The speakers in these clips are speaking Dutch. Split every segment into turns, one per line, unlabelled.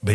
Ben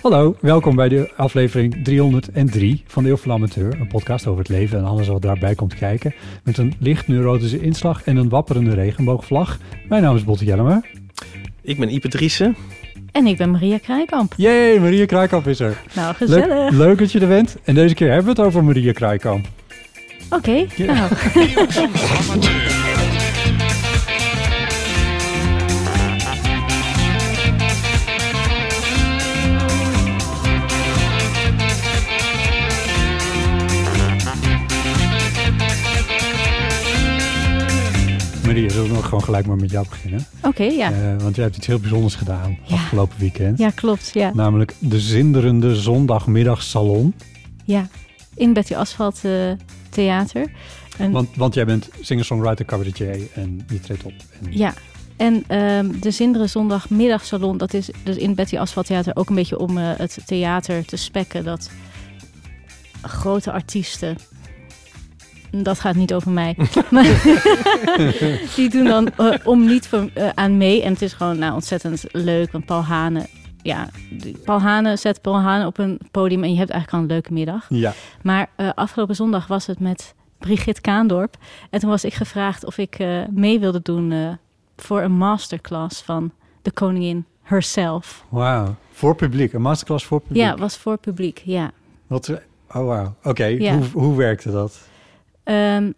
Hallo, welkom bij de aflevering 303 van de Eeuw van de Amateur. Een podcast over het leven en alles wat daarbij komt kijken. Met een licht neurotische inslag en een wapperende regenboogvlag. Mijn naam is Botte Jellema.
Ik ben Ipe Driessen.
En ik ben Maria Krijkamp.
Jee, Maria Kruikamp is er.
Nou, gezellig.
Leuk, leuk dat je er bent. En deze keer hebben we het over Maria Kruikamp.
Oké, nou,
Maria, zullen we nog gewoon gelijk maar met jou beginnen?
oké, ja.
Eh, want jij hebt iets heel bijzonders gedaan
Ja.
afgelopen weekend.
Ja, klopt, ja.
Namelijk de zinderende zondagmiddagsalon.
ja. In Betty Asphalt eh, Theater. En,
Want, want jij bent singer-songwriter, cabaretier en je treedt op. En
Ja. En ehm, de Zinderen Zondagmiddagsalon, dat is dus in Betty Asphalt Theater ook een beetje om eh, het theater te spekken. Dat grote artiesten. Dat gaat niet over mij. maar die doen dan eh, om niet van, eh, aan mee. En het is gewoon nou, ontzettend leuk. Want Paul Hanen, ja, die- Paul Hanen zet Paul Hanen op een podium. En je hebt eigenlijk al een leuke middag.
ja.
Maar eh, afgelopen zondag was het met Brigitte Kaandorp. En toen was ik gevraagd of ik eh, mee wilde doen eh, voor een masterclass van de koningin herself.
Wauw. Voor publiek, een masterclass voor publiek.
Ja, was voor publiek, ja.
Wat, oh, wauw. Oké,
Ja.
hoe, hoe werkte dat?
Ehm,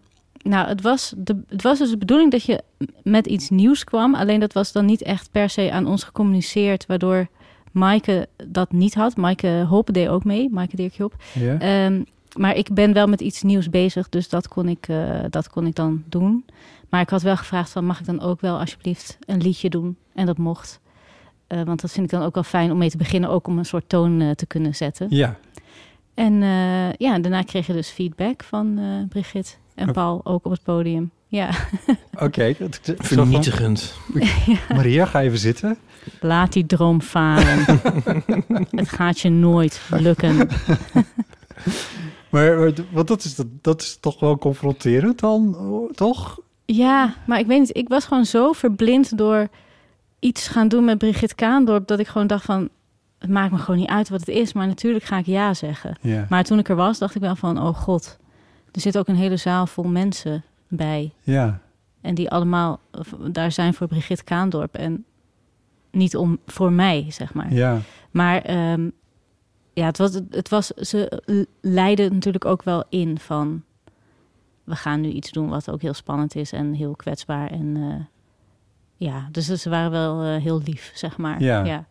nou, het was, de, het was dus de bedoeling dat je m- met iets nieuws kwam. Alleen dat was dan niet echt per se aan ons gecommuniceerd, waardoor Maaike dat niet had. Maaike Hop deed ook mee, Maaike Dirk Hop.
Ja?
Ehm, maar ik ben wel met iets nieuws bezig, dus dat kon, ik, eh, dat kon ik dan doen. Maar ik had wel gevraagd van, mag ik dan ook wel alsjeblieft een liedje doen? En dat mocht. Eh, want dat vind ik dan ook wel fijn om mee te beginnen, ook om een soort toon eh, te kunnen zetten.
ja.
En eh, ja, en daarna kreeg je dus feedback van eh Brigitte en Paul, ook op het podium. Ja,
Oké. Het- het- zo van-
Vernietigend.
Maria, ga even zitten.
laat die droom varen. het gaat je nooit lukken.
Maar, maar d- want dat is, dat, dat is toch wel confronterend dan, oh, toch?
Ja, maar ik weet niet. Ik was gewoon zo verblind door iets gaan doen met Brigitte Kaandorp... dat ik gewoon dacht van, het maakt me gewoon niet uit wat het is... maar natuurlijk ga ik ja zeggen.
Ja.
Maar toen ik er was, dacht ik wel van, oh god... er zit ook een hele zaal vol mensen bij...
ja.
en die allemaal eh, daar zijn voor Brigitte Kaandorp... en niet om, voor mij, zeg maar.
Ja.
Maar ehm, ja, het was, het was, ze leiden natuurlijk ook wel in van... we gaan nu iets doen wat ook heel spannend is en heel kwetsbaar. En, eh, ja, dus ze waren wel eh, heel lief, zeg maar.
Ja.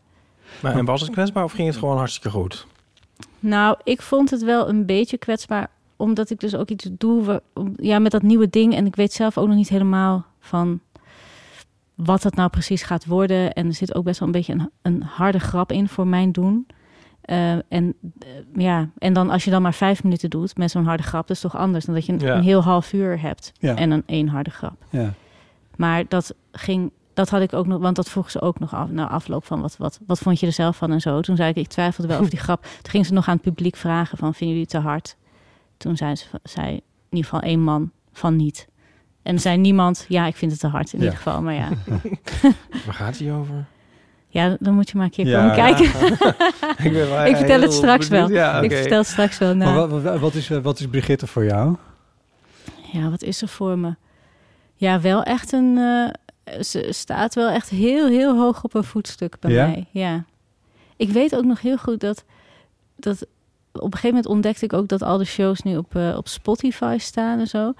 Maar en was het kwetsbaar of ging het gewoon hartstikke goed?
Nou, ik vond het wel een beetje kwetsbaar... omdat ik dus ook iets doe waar- om- ja, met dat nieuwe ding... en ik weet zelf ook nog niet helemaal van wat het nou precies gaat worden. En er zit ook best wel een beetje een, een harde grap in voor mijn doen... Eh, en, eh, ja. en dan als je dan maar vijf minuten doet met zo'n harde grap, dat is toch anders dan dat je een,
Ja.
een heel half uur hebt
Ja.
en een één harde grap.
Ja.
Maar dat ging, dat had ik ook nog, want dat vroeg ze ook nog af na afloop van wat, wat, wat vond je er zelf van en zo. Toen zei ik, ik twijfelde wel over die grap. Toen ging ze nog aan het publiek vragen van, vinden jullie het te hard? Toen zei, ze, van- zei in ieder geval één man van niet. En zei niemand, ja, ik vind het te hard in
Ja.
ieder geval. Maar ja,
Waar gaat hij over?
ja dan moet je maar een keer
Ja.
komen kijken.
Ik, ben wel
Ik vertel het
heel
straks
benieuwd.
wel.
Ja,
Ik
oké.
vertel het straks wel. na.
Maar wat, wat, wat is, eh, wat is Brigitte voor jou?
Ja, wat is er voor me? Ja, wel echt een. eh, ze staat wel echt heel, heel hoog op een voetstuk bij
Ja?
mij. Ja. Ik weet ook nog heel goed dat. dat op een gegeven moment ontdekte ik ook dat al de shows nu op, eh, op Spotify staan en zo.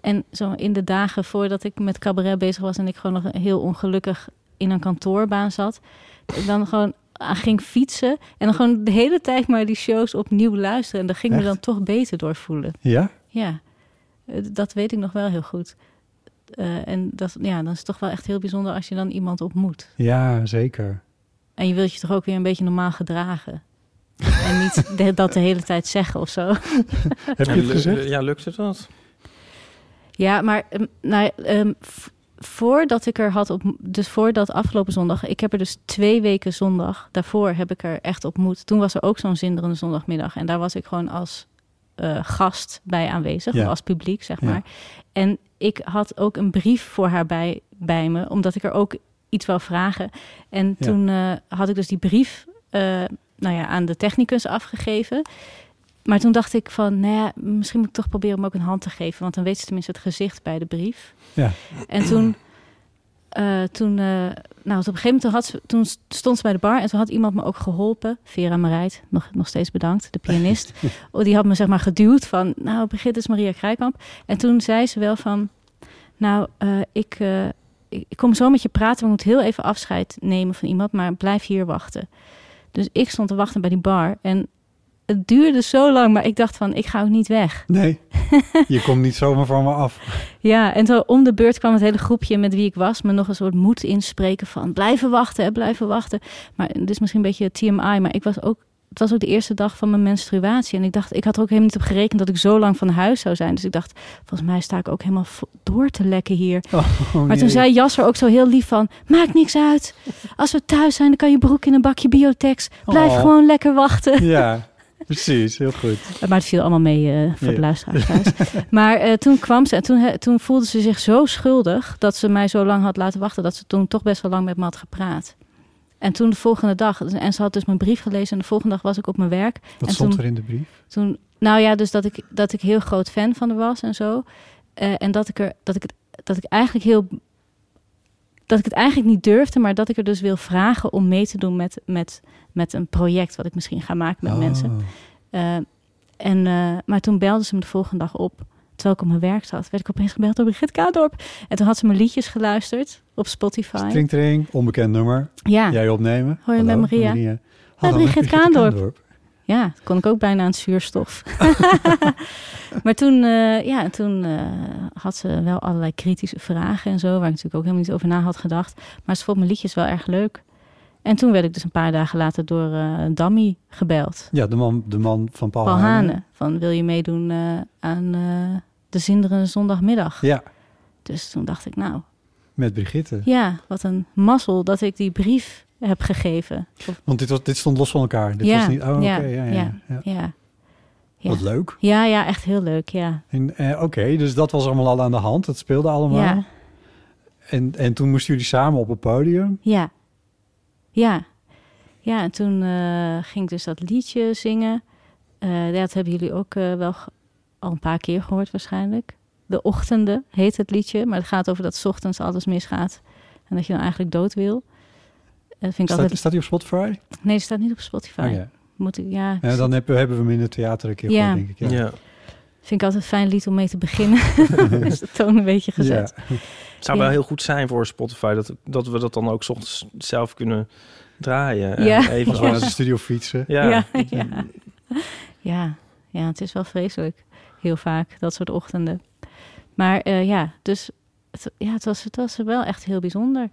En zo in de dagen voordat ik met cabaret bezig was en ik gewoon nog heel ongelukkig in een kantoorbaan zat, dan gewoon ah, ging fietsen en dan gewoon de hele tijd maar die shows opnieuw luisteren. En daar ging ik me
Echt?
dan toch beter door voelen.
Ja?
Ja, Eh, dat weet ik nog wel heel goed. Eh, en dat, ja, dan is het toch wel echt heel bijzonder als je dan iemand ontmoet.
Ja, zeker.
En je wilt je toch ook weer een beetje normaal gedragen. en niet de- dat de hele tijd zeggen of zo.
Heb je
En
het
lu-
gezegd?
Ja, lukt het dat?
Ja, maar ehm, nou, ja, ehm, v- voordat ik er had op, dus voordat afgelopen zondag, ik heb er dus twee weken zondag, daarvoor heb ik er echt ontmoet. Toen was er ook zo'n zinderende zondagmiddag en daar was ik gewoon als eh, gast bij aanwezig,
Ja.
als publiek zeg
Ja.
maar. En ik had ook een brief voor haar bij, bij me, omdat ik er ook iets wou vragen. En
Ja.
toen eh, had ik dus die brief eh, nou ja, aan de technicus afgegeven. Maar toen dacht ik van, nou ja, misschien moet ik toch proberen om ook een hand te geven. Want dan weet ze tenminste het gezicht bij de brief.
Ja.
En toen, eh, toen eh, nou, op een gegeven moment had ze, toen stond ze bij de bar. En toen had iemand me ook geholpen. Vera Marijt, nog, nog steeds bedankt, de pianist. Oh, Die had me zeg maar geduwd van, nou, begin is Maria Krijkamp. En toen zei ze wel van, nou, eh, ik, eh, ik ik kom zo met je praten. We moeten heel even afscheid nemen van iemand, maar blijf hier wachten. Dus ik stond te wachten bij die bar. En het duurde zo lang, maar ik dacht van, ik ga ook niet weg.
Nee. je komt niet zomaar van me af.
Ja, en zo om de beurt kwam het hele groepje met wie ik was... me nog een soort moed inspreken van, blijven wachten, hè, blijven wachten. Maar dit is misschien een beetje TMI, maar ik was ook... Het was ook de eerste dag van mijn menstruatie. En ik dacht, ik had er ook helemaal niet op gerekend dat ik zo lang van huis zou zijn. Dus ik dacht, volgens mij sta ik ook helemaal vo- door te lekken hier.
Oh,
Maar toen
nee.
zei Jasser ook zo heel lief van... maakt niks uit. Als we thuis zijn, dan kan je broek in een bakje biotex. Blijf
Oh.
gewoon lekker wachten.
Ja, precies. Heel goed.
Maar het viel allemaal mee eh, voor
Ja.
de luisteraars thuis. maar eh, toen kwam ze en toen, he- toen voelde ze zich zo schuldig... dat ze mij zo lang had laten wachten... dat ze toen toch best wel lang met me had gepraat. En toen de volgende dag... en ze had dus mijn brief gelezen... en de volgende dag was ik op mijn werk.
Wat
en
stond
toen,
er in de brief?
toen, nou ja, dus dat ik, dat ik heel groot fan van haar was en zo. Eh, en dat ik, er, dat, ik het, dat ik eigenlijk heel. Dat ik het eigenlijk niet durfde, maar dat ik er dus wil vragen om mee te doen met, met, met een project wat ik misschien ga maken met
Oh.
mensen. Eh, en, eh, maar toen belde ze me de volgende dag op. Terwijl ik op mijn werk zat, werd ik opeens gebeld door Brigitte Kaadorp. En toen had ze mijn liedjes geluisterd op Spotify.
Tring, tring, onbekend nummer.
Ja, ja.
Jij opnemen.
Ah.
eh.
Hoi, ik ben Maria.
Hallo,
Brigitte
Brigitte
Kaandorp.
Kaandorp.
dat kon ik ook bijna aan zuurstof. maar toen, eh, ja, toen eh, had ze wel allerlei kritische vragen en zo, waar ik natuurlijk ook helemaal niet over na had gedacht. Maar ze vond mijn liedjes wel erg leuk. En toen werd ik dus een paar dagen later door eh Dammy gebeld.
Ja, de man, de man van Paul,
Paul
Hane.
Hane, van wil je meedoen eh, aan eh, de Zinderende Zondagmiddag?
Ja,
Dus toen dacht ik, nou,
met Brigitte.
ja, wat een mazzel dat ik die brief heb gegeven. Of-
Want dit, was, dit stond los van elkaar. Dit
Ja,
was niet... Oh, oké.
ja,
ja, ja,
ja.
ja.
ja. Ja.
Wat leuk.
ja, ja, echt heel leuk, ja.
En, eh, Oké, dus dat was allemaal al aan de hand. Dat speelde allemaal.
Ja,
En, en toen moesten jullie samen op het podium.
ja. Ja, ja en toen eh, ging ik dus dat liedje zingen. Eh, dat hebben jullie ook eh, wel ge- al een paar keer gehoord waarschijnlijk. De Ochtenden heet het liedje, maar het gaat over dat 's ochtends alles misgaat. En dat je dan eigenlijk dood wil. Eh, Dat vind ik
Staat,
altijd...
staat die op Spotify?
Nee, het staat niet op Spotify.
Oh, ja.
Moet ik, ja,
Ja, dan hebben, hebben we hem in het theater een keer
Ja.
gehoord, denk ik.
Ja.
Vind ik altijd een fijn lied om mee te beginnen. is de toon een beetje gezet.
Ja.
Het zou
Ja.
wel heel goed zijn voor Spotify dat, dat we dat dan ook 's ochtends zelf kunnen draaien. En
Ja.
Even
Gewoon
gewoon-
naar de studio fietsen.
ja.
ja, ja. Ja, ja, het is wel vreselijk. Heel vaak, dat soort ochtenden. Maar eh, ja, dus het, ja, het, was, het was wel echt heel bijzonder.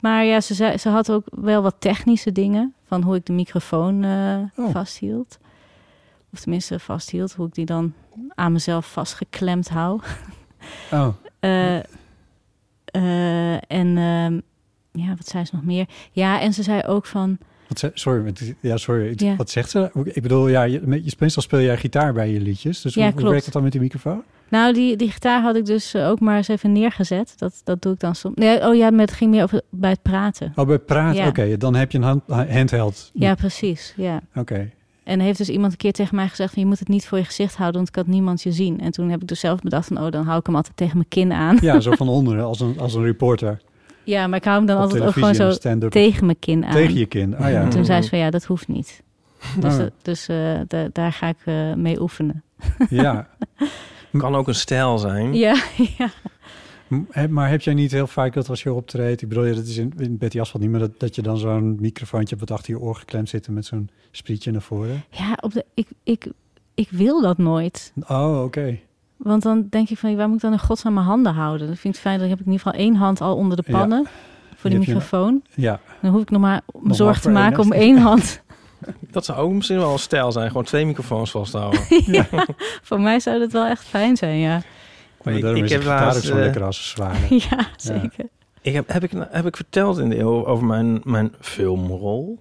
Maar ja, ze, zei, ze had ook wel wat technische dingen. Van hoe ik de microfoon eh,
Oh.
vasthield. Of tenminste vasthield. Hoe ik die dan aan mezelf vastgeklemd hou.
Oh,
Eh, eh, en ehm, ja, wat zei ze nog meer? Ja, en ze zei ook van.
wat ze- sorry. het- Ja, sorry. het-
Ja.
Wat zegt ze? Ik bedoel, ja, je, met- je- meestal speel jij gitaar bij je liedjes. Dus
Ja,
hoe- hoe,
klopt.
werkt dat dan met die microfoon?
Nou, die, die gitaar had ik dus eh, ook maar eens even neergezet. Dat, dat doe ik dan soms. Nee, oh ja, maar het ging meer over bij het praten.
Oh, bij praten.
Ja.
Oké, dan heb je een hand, handheld.
Ja, precies. Ja.
Oké.
En heeft dus iemand een keer tegen mij gezegd: van, Je moet het niet voor je gezicht houden, want kan niemand je zien. En toen heb ik dus zelf bedacht: van, Oh, dan hou ik hem altijd tegen mijn kin aan.
Ja, zo van onderen, als een, als een reporter.
Ja, maar ik hou hem dan
op
altijd ook
televisie
gewoon
en
zo
stand-up.
tegen mijn kin aan.
Tegen je kin. Ah ja.
Toen zei ze van ja, dat hoeft niet. Dus,
Oh.
dat- dus eh, da- daar ga ik eh, mee oefenen.
Ja.
Kan ook een stijl zijn.
Ja, ja.
M- he- Maar heb jij niet heel vaak dat als je optreedt... Ik bedoel, ja, dat is in, in Betty Asphalt niet... maar dat, dat je dan zo'n microfoontje hebt wat achter je oor geklemd zit... en met zo'n sprietje naar voren?
ja op de, ik, ik, ik wil dat nooit.
Oh, oké.
Want dan denk ik van, waar moet ik dan in godsnaam mijn handen houden? Dat vind ik fijn, dan heb ik in ieder geval één hand al onder de
Ja.
pannen
Die
voor die
heb je-
microfoon.
Ja,
Dan hoef ik nog maar me
maar
zorgen te
voor één,
maken
hè?
om één hand.
Dat zou ook misschien wel een stijl zijn. Gewoon twee microfoons vasthouden.
voor mij zou dat wel echt fijn zijn, ja.
maar
ik-
daarom
ik
is heb
heb
gitaar ook
laatst,
zo'n
eh,
lekker accessoire.
Ja, zeker.
Ik heb, heb, ik, heb ik verteld in de eeuw over mijn, mijn filmrol?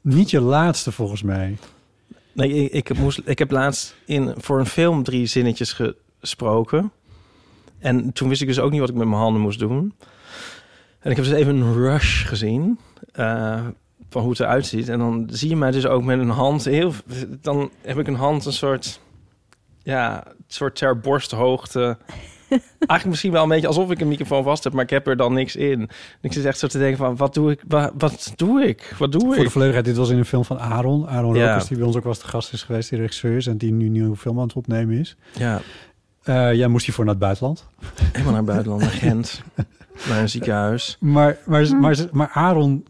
Niet je laatste volgens mij.
Nee, ik, ik, moest, ik heb laatst in, voor een film drie zinnetjes ge- gesproken. En toen wist ik dus ook niet wat ik met mijn handen moest doen. En ik heb dus even een rush gezien eh, van hoe het eruit ziet. En dan zie je mij dus ook met een hand heel... Dan heb ik een hand een soort... Ja, een soort ter borsthoogte. Eigenlijk misschien wel een beetje alsof ik een microfoon vast heb, maar ik heb er dan niks in. En ik zit echt zo te denken van, wat doe ik? Wat, wat doe ik? Wat doe
Voor
ik?
de volledigheid, dit was in een film van Aaron. Aaron
Ja.
Rokers, die bij ons ook wel eens te gast is geweest, die regisseur is... en die nu een nieuwe film aan het opnemen is.
Ja,
Eh ja, moest hij voor naar het buitenland.
Helemaal naar het buitenland, naar Gent. naar een ziekenhuis.
Maar, maar, maar, maar Aaron,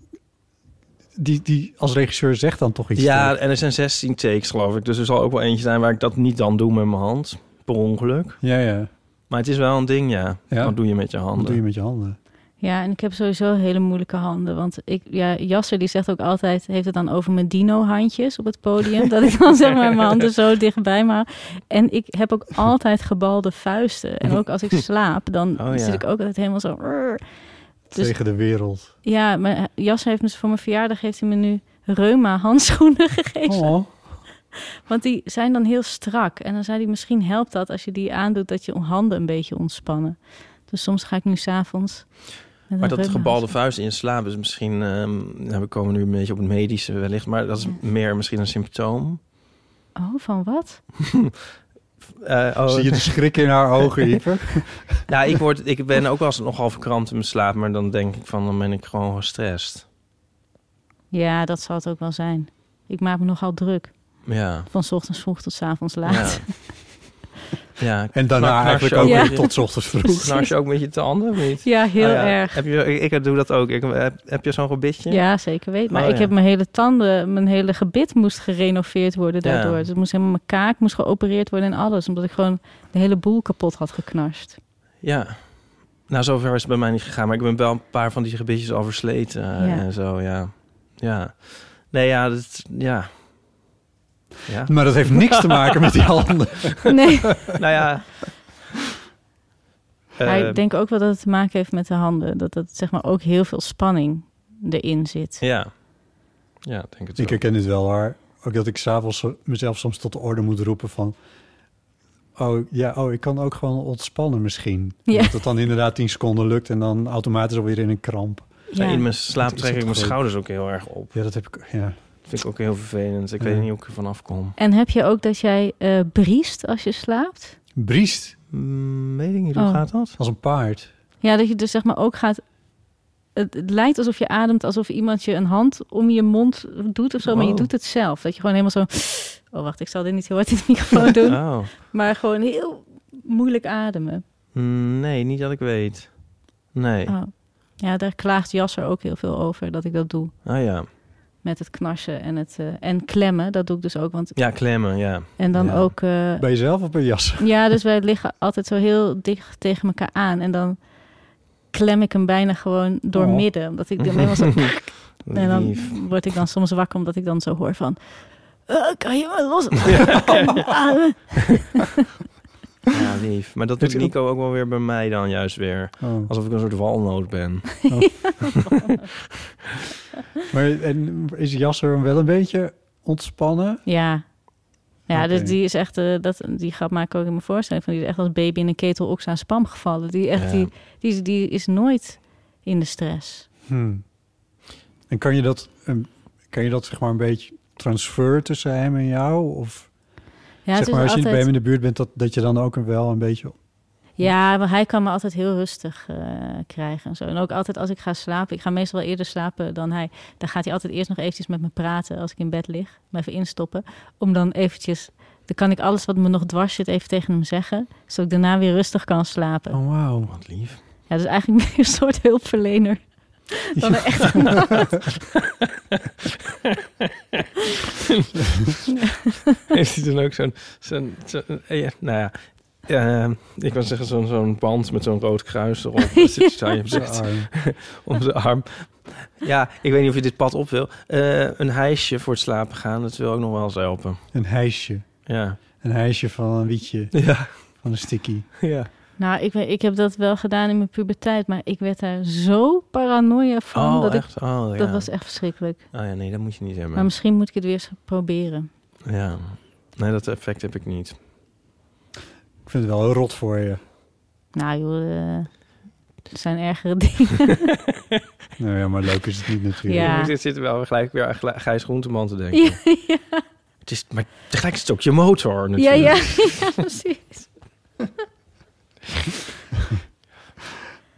die, die als regisseur zegt dan toch iets.
Ja,
tegen.
en er zijn 16 takes, geloof ik. Dus er zal ook wel eentje zijn waar ik dat niet dan doe met mijn hand. Per ongeluk.
ja, ja.
Maar het is wel een ding, ja.
Ja.
Wat doe je met je
Wat
handen?
doe je met je handen?
Ja, en ik heb sowieso hele moeilijke handen. Want ik, ja, Jasser die zegt ook altijd, heeft het dan over mijn dino-handjes op het podium. dat ik dan zeg maar mijn handen zo dichtbij me hou. En ik heb ook altijd gebalde vuisten. En ook als ik slaap, dan
Oh, ja.
zit ik ook altijd helemaal zo... "Rrr." Dus-
Tegen de wereld.
Ja, maar Jasser heeft me voor mijn verjaardag heeft hij me nu reuma handschoenen gegeven.
Oh,
Want die zijn dan heel strak. En dan zei hij, misschien helpt dat als je die aandoet dat je handen een beetje ontspannen. Dus soms ga ik nu s'avonds...
Maar dat gebalde vuist in slaap is misschien... ehm, nou, we komen nu een beetje op het medische wellicht. Maar dat is meer misschien een symptoom.
Oh, van wat?
Eh, oh,
zie je de schrik in haar ogen, Ieper?
ja, ik, word, ik ben ook wel eens nogal verkrampt in mijn slaap. Maar dan denk ik van, dan ben ik gewoon gestrest.
Ja, dat zal het ook wel zijn. Ik maak me nogal druk.
Ja.
Van 's ochtends vroeg tot 's avonds
Ja.
laat.
ja.
En daarna
Knar- knars je
eigenlijk ook
Ja.
weer tot 's ochtends vroeg.
Knars je ook met je tanden of niet?
Ja, heel
Oh ja.
erg.
Heb je, ik, ik doe dat ook. Ik, eh, heb, heb je zo'n gebitje?
Ja, zeker weten. Maar
Oh,
ik
ja.
heb mijn hele tanden, mijn hele gebit moest gerenoveerd worden
Ja.
daardoor. Dus het moest helemaal mijn kaak moest geopereerd worden en alles. Omdat ik gewoon de hele boel kapot had geknarst.
Ja. Nou, zover is het bij mij niet gegaan. Maar ik ben wel een paar van die gebitjes al versleten. eh,
Ja.
En zo, ja. Ja. Nee, ja, dat... Ja. Ja.
Maar dat heeft niks te maken met die handen.
Nee,
nou ja.
maar
Eh,
ik denk ook wel dat het te maken heeft met de handen. Dat dat zeg maar ook heel veel spanning erin zit.
Ja. Ja, ik denk het
Ik
wel.
herken het wel hoor. Ook dat ik s'avonds zo- mezelf soms tot de orde moet roepen van... Oh ja, oh, ik kan ook gewoon ontspannen misschien.
Ja.
Dat het dan inderdaad 10 seconden lukt en dan automatisch alweer in een kramp.
Maar
Ja.
In mijn slaap
Dat is
trek ik
het
mijn
gewoon.
schouders ook heel erg op.
Ja, dat heb ik. Ja.
Dat vind ik ook heel vervelend. Ik
Ja.
weet niet hoe ik ervan afkom.
En heb je ook dat jij eh, briest als je slaapt?
Briest
Mm, weet ik niet, hoe
Oh.
gaat dat?
als een paard.
Ja, dat je dus zeg maar ook gaat. Het, het lijkt alsof je ademt, alsof iemand je een hand om je mond doet of zo, maar je
Wow.
doet het zelf. Dat je gewoon helemaal zo. Oh, wacht, ik zal dit niet heel hard in de microfoon doen.
Oh.
Maar gewoon heel moeilijk ademen.
Mm, Nee, niet dat ik weet. Nee.
Oh. Ja, daar klaagt Jasser ook heel veel over dat ik dat doe.
Ah ja.
Met het knarsen en het eh, en klemmen, dat doe ik dus ook. Want,
Ja, klemmen, ja.
en dan
Ja.
ook. eh,
Bij jezelf of bij jas?
Ja, dus wij liggen altijd zo heel dicht tegen elkaar aan. En dan klem ik hem bijna gewoon doormidden. Omdat ik dan helemaal zo... en dan
Lief.
word ik dan soms wakker omdat ik dan zo hoor van... "Eh, kan je me los? Kan je me ademen?"
Ja, lief. Maar dat doet
Heeft-
Nico ook wel weer bij mij dan juist weer.
Oh.
Alsof ik een soort walnoot ben.
Maar en is Jasser wel een beetje ontspannen?
ja. Ja, dus
Oké.
die is echt... eh, dat, die grap maak ik ook in mijn voorstelling. Van die is echt als baby in een ketel oxa spam gevallen. Die, echt,
Ja.
die, die, die is nooit in de stress.
Hmm. En kan je dat, ehm, kan je dat zeg maar een beetje transfer tussen hem en jou? Of
Ja, het
zeg
is
maar als je bij
altijd-
hem in de buurt bent, dat, dat je dan ook een wel een beetje
Ja, maar hij kan me altijd heel rustig eh, krijgen en zo. En ook altijd als ik ga slapen. Ik ga meestal wel eerder slapen dan hij. Dan gaat hij altijd eerst nog eventjes met me praten als ik in bed lig. Me even instoppen. Om dan eventjes... Dan kan ik alles wat me nog dwars zit even tegen hem zeggen. Zodat ik daarna weer rustig kan slapen.
Oh, wauw. Wat lief.
Ja, dat is eigenlijk meer een soort hulpverlener. Dan een echt
Heeft hij dan ook zo'n... zo'n zo'n- eh, ja, nou ja, eh, ik wil zeggen zo'n zo'n band met zo'n rood kruis erop. Dat zit zo aan je
Zo
bed.
arm.
om de arm. Ja, ik weet niet of je dit pad op wil. Eh, een hijsje voor het slapen gaan, dat wil ook nog wel eens helpen.
Een hijsje.
Ja.
Een hijsje van een wietje,
Ja.
van een sticky.
ja.
Nou, ik, ben- ik heb dat wel gedaan in mijn puberteit, maar ik werd daar zo paranoia van.
Oh,
dat ik,
echt? oh, ja.
dat was echt verschrikkelijk.
Oh ja, nee, dat moet je niet hebben.
Maar misschien moet ik het weer eens proberen.
Ja. Nee, dat effect heb ik niet.
Ik vind het wel een rot voor je.
Nou joh, eh, er zijn ergere dingen.
Nou ja, maar leuk is het niet natuurlijk.
Ja.
Ik zit- zit er wel gelijk weer aan Gla- Gijs Groenteman te denken. Het is, maar tegelijk is het ook je motor
ja,
natuurlijk.
ja, ja, precies.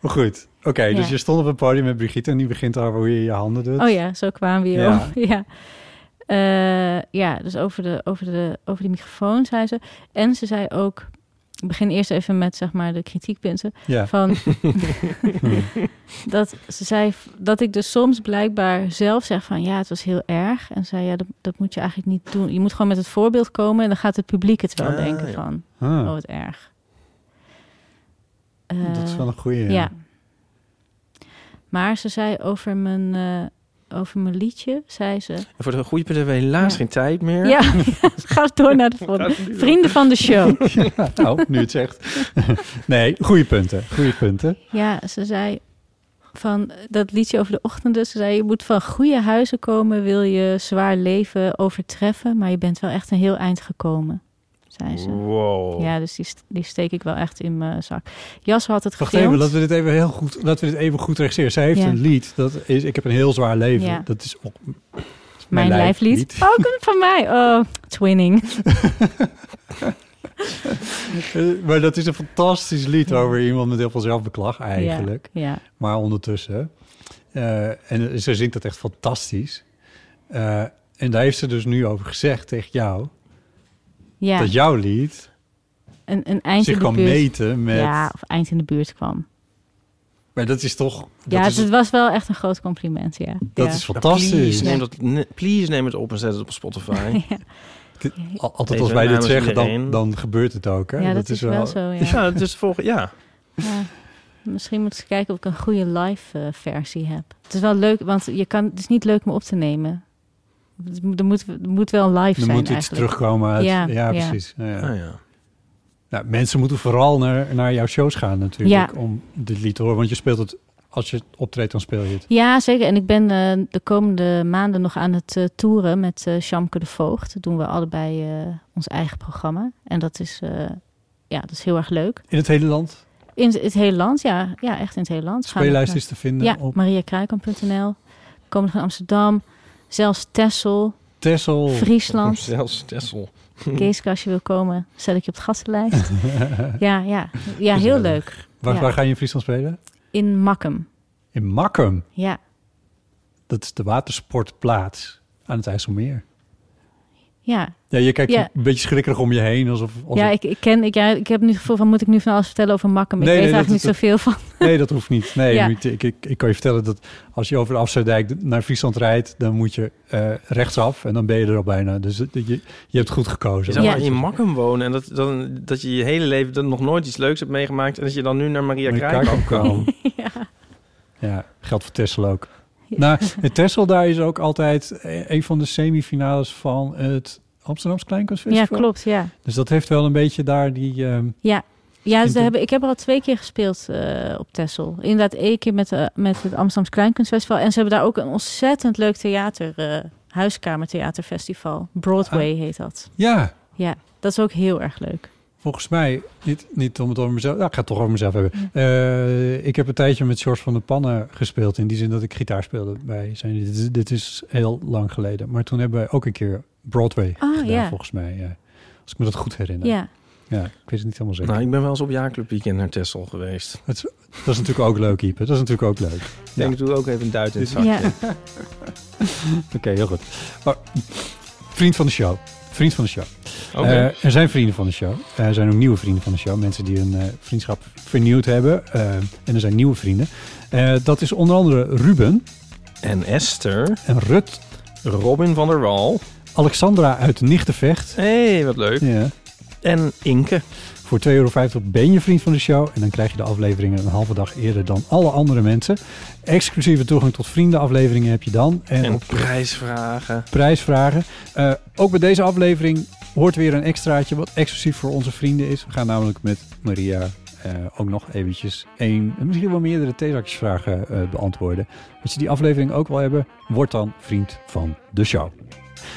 Maar goed, oké, dus
Ja.
je stond op het podium met Brigitte en die begint over hoe je je handen doet.
Oh ja, zo kwamen we hier
Ja.
op. Ja. Eh, ja, dus over de, over, de, over die microfoon zei ze. En ze zei ook, ik begin eerst even met zeg maar de kritiekpunten.
Ja.
Van, dat ze zei v- dat ik dus soms blijkbaar zelf zeg van ja, het was heel erg. En ze zei ja, dat, dat moet je eigenlijk niet doen. Je moet gewoon met het voorbeeld komen en dan gaat het publiek het wel
Ah,
denken
ja.
van
Ah,
oh, wat erg. Eh,
dat is wel een goeie.
ja. Maar ze zei over mijn, eh, over mijn liedje, zei ze.
En voor de goede punten hebben we helaas
Ja.
geen tijd meer.
Ja, ga door naar de volgende. Vrienden van de show.
Nou, nu het zegt. nee, goede punten. Goede punten.
Ja, ze zei van dat liedje over de ochtenden. Ze zei: Je moet van goede huizen komen, wil je zwaar leven overtreffen. Maar je bent wel echt een heel eind gekomen, zei ze.
Wow. Nou,
Ja, dus die, st- die steek ik wel echt in mijn zak. Jas had het
Wacht even,
gefilmd.
laten we dit even heel goed, laten we dit even goed registreren. Zij heeft
Ja.
een lied, dat is Ik heb een heel zwaar leven.
Ja.
Dat is ook mijn,
Mijn lijflied.
lijflied.
Oh, komt van mij. Oh, twinning.
Eh, maar dat is een fantastisch lied over iemand met heel veel zelfbeklag eigenlijk.
Ja,
Maar ondertussen. eh, en ze zingt dat echt fantastisch. Eh, en daar heeft ze dus nu over gezegd tegen jou.
ja.
Dat jouw lied
een, een eind
zich
in de
kan
buurt.
meten met...
Ja, of eind in de buurt kwam.
Maar dat is toch... Dat
ja,
is,
het was wel echt een groot compliment. Ja.
dat
ja.
is fantastisch.
Please neem, dat, ne- please neem het op en zet het op Spotify.
Al- Altijd
Deze
als wij dit
namens
zeggen, dan,
iedereen.
dan gebeurt het ook. Hè?
Ja, dat, is wel, zo. Ja.
Ja, het is volgende. Ja.
Ja. Misschien moet ik eens kijken of ik een goede live eh, versie heb. Het is wel leuk, want je kan, het is niet leuk om op te nemen. Het moet, er moet, er moet wel live
Er
zijn
moet iets
eigenlijk.
terugkomen uit... Ja,
Ja, ja.
precies. Ja, ja.
Ah, ja.
Nou, mensen moeten vooral naar, naar jouw shows gaan natuurlijk.
Ja.
Om dit lied te horen. Want je speelt het... Als je optreedt, dan speel je het.
Ja, zeker. En ik ben eh, de komende maanden nog aan het eh, toeren met eh Shamke de Voogd. Dat doen we allebei eh, ons eigen programma. En dat is, eh, ja, dat is heel erg leuk.
In het hele land.
In het, het hele land, ja. Ja, echt in het hele land. Gaan we-
Speellijst is te vinden
Ja,
Nou, op
mariakruikamp.nl. Komen nog in Amsterdam. Zelfs Texel,
Texel.
Friesland.
Zelfs Tessel.
Kees, als je wil komen, zet ik je op de gastenlijst. ja, ja. ja, heel leuk.
Waar,
Ja.
waar ga je in Friesland spelen?
In Makkum.
In Makkum.
Ja,
Dat is de watersportplaats aan het IJsselmeer.
ja.
Ja, je kijkt
Ja.
een beetje schrikkerig om je heen. Alsof, alsof-
ja, ik, ik, ken, ik, ja ik heb nu het gevoel van, moet ik nu van alles vertellen over Makkum?
Nee,
ik weet
nee, dat-
eigenlijk niet zoveel van.
Nee, dat hoeft niet. Nee,
Ja.
ik, ik, ik, ik kan je vertellen dat als je over de Afsluitdijk naar Friesland rijdt... dan moet je eh, rechtsaf en dan ben je er al bijna. Dus het- je, je hebt goed
Je
gekozen.
zou
Ja.
maar in Makkum wonen en dat, dan, dat je je hele leven dan nog nooit iets leuks hebt meegemaakt... en dat je dan nu naar Maria
Maar
Kraai kan
kijk ook
komen.
wel. Ja, geldt voor Tessel ook. Nou, het Tessel daar is ook altijd e- een van de semifinales van het Amsterdamse
Ja,
Kleinkunstfestival.
klopt, ja.
Dus dat heeft wel een beetje daar die... ehm,
Ja,
Ik
ze
ben-
hebben, ik heb er al twee keer gespeeld eh, op Texel. Inderdaad, één keer met, eh, met het Amsterdamse Kleinkunstfestival. En ze hebben daar ook een ontzettend leuk theater, eh, huiskamertheaterfestival. Broadway heet dat.
ja,
Ja, dat is ook heel erg leuk.
Volgens mij, niet, niet om het over mezelf... Nou, ik ga het toch over mezelf hebben. Eh, ik heb een tijdje met George van der Pannen gespeeld. In die zin dat ik gitaar speelde bij zijn. Dit is, dit is heel lang geleden. Maar toen hebben wij ook een keer Broadway
Ah,
gedaan,
ja.
volgens mij. ja. Als ik me dat goed herinner.
Ja,
Ja, ik weet het niet helemaal zeker.
Nou, ik ben wel eens op jaarclub weekend naar Texel geweest.
Het is- dat is natuurlijk ook leuk, Ipe. Dat is natuurlijk ook leuk. Ja.
Ik doe ook even een duit in het
Ja.
zakje.
Oké, heel goed. Maar, vriend van de show. Vriend van de show.
Oké.
Eh, er zijn vrienden van de show. Eh, er zijn ook nieuwe vrienden van de show. Mensen die hun eh, vriendschap vernieuwd hebben. Eh, en er zijn nieuwe vrienden. Eh, dat is onder andere Ruben
En Esther,
en Rut.
Robin van der Wal.
Alexandra uit Nichtenvecht.
Hé, hey, wat leuk.
Ja.
En Inke.
Voor 2,50 euro ben je vriend van de show. En dan krijg je de afleveringen een halve dag eerder dan alle andere mensen. Exclusieve toegang tot vriendenafleveringen heb je dan. En,
En
op
prijsvragen.
prijsvragen. Eh, ook bij deze aflevering hoort weer een extraatje wat exclusief voor onze vrienden is. We gaan namelijk met Maria eh, ook nog eventjes één, misschien wel meerdere theezakjesvragen eh, beantwoorden. Als je die aflevering ook wil hebben, word dan vriend van de show.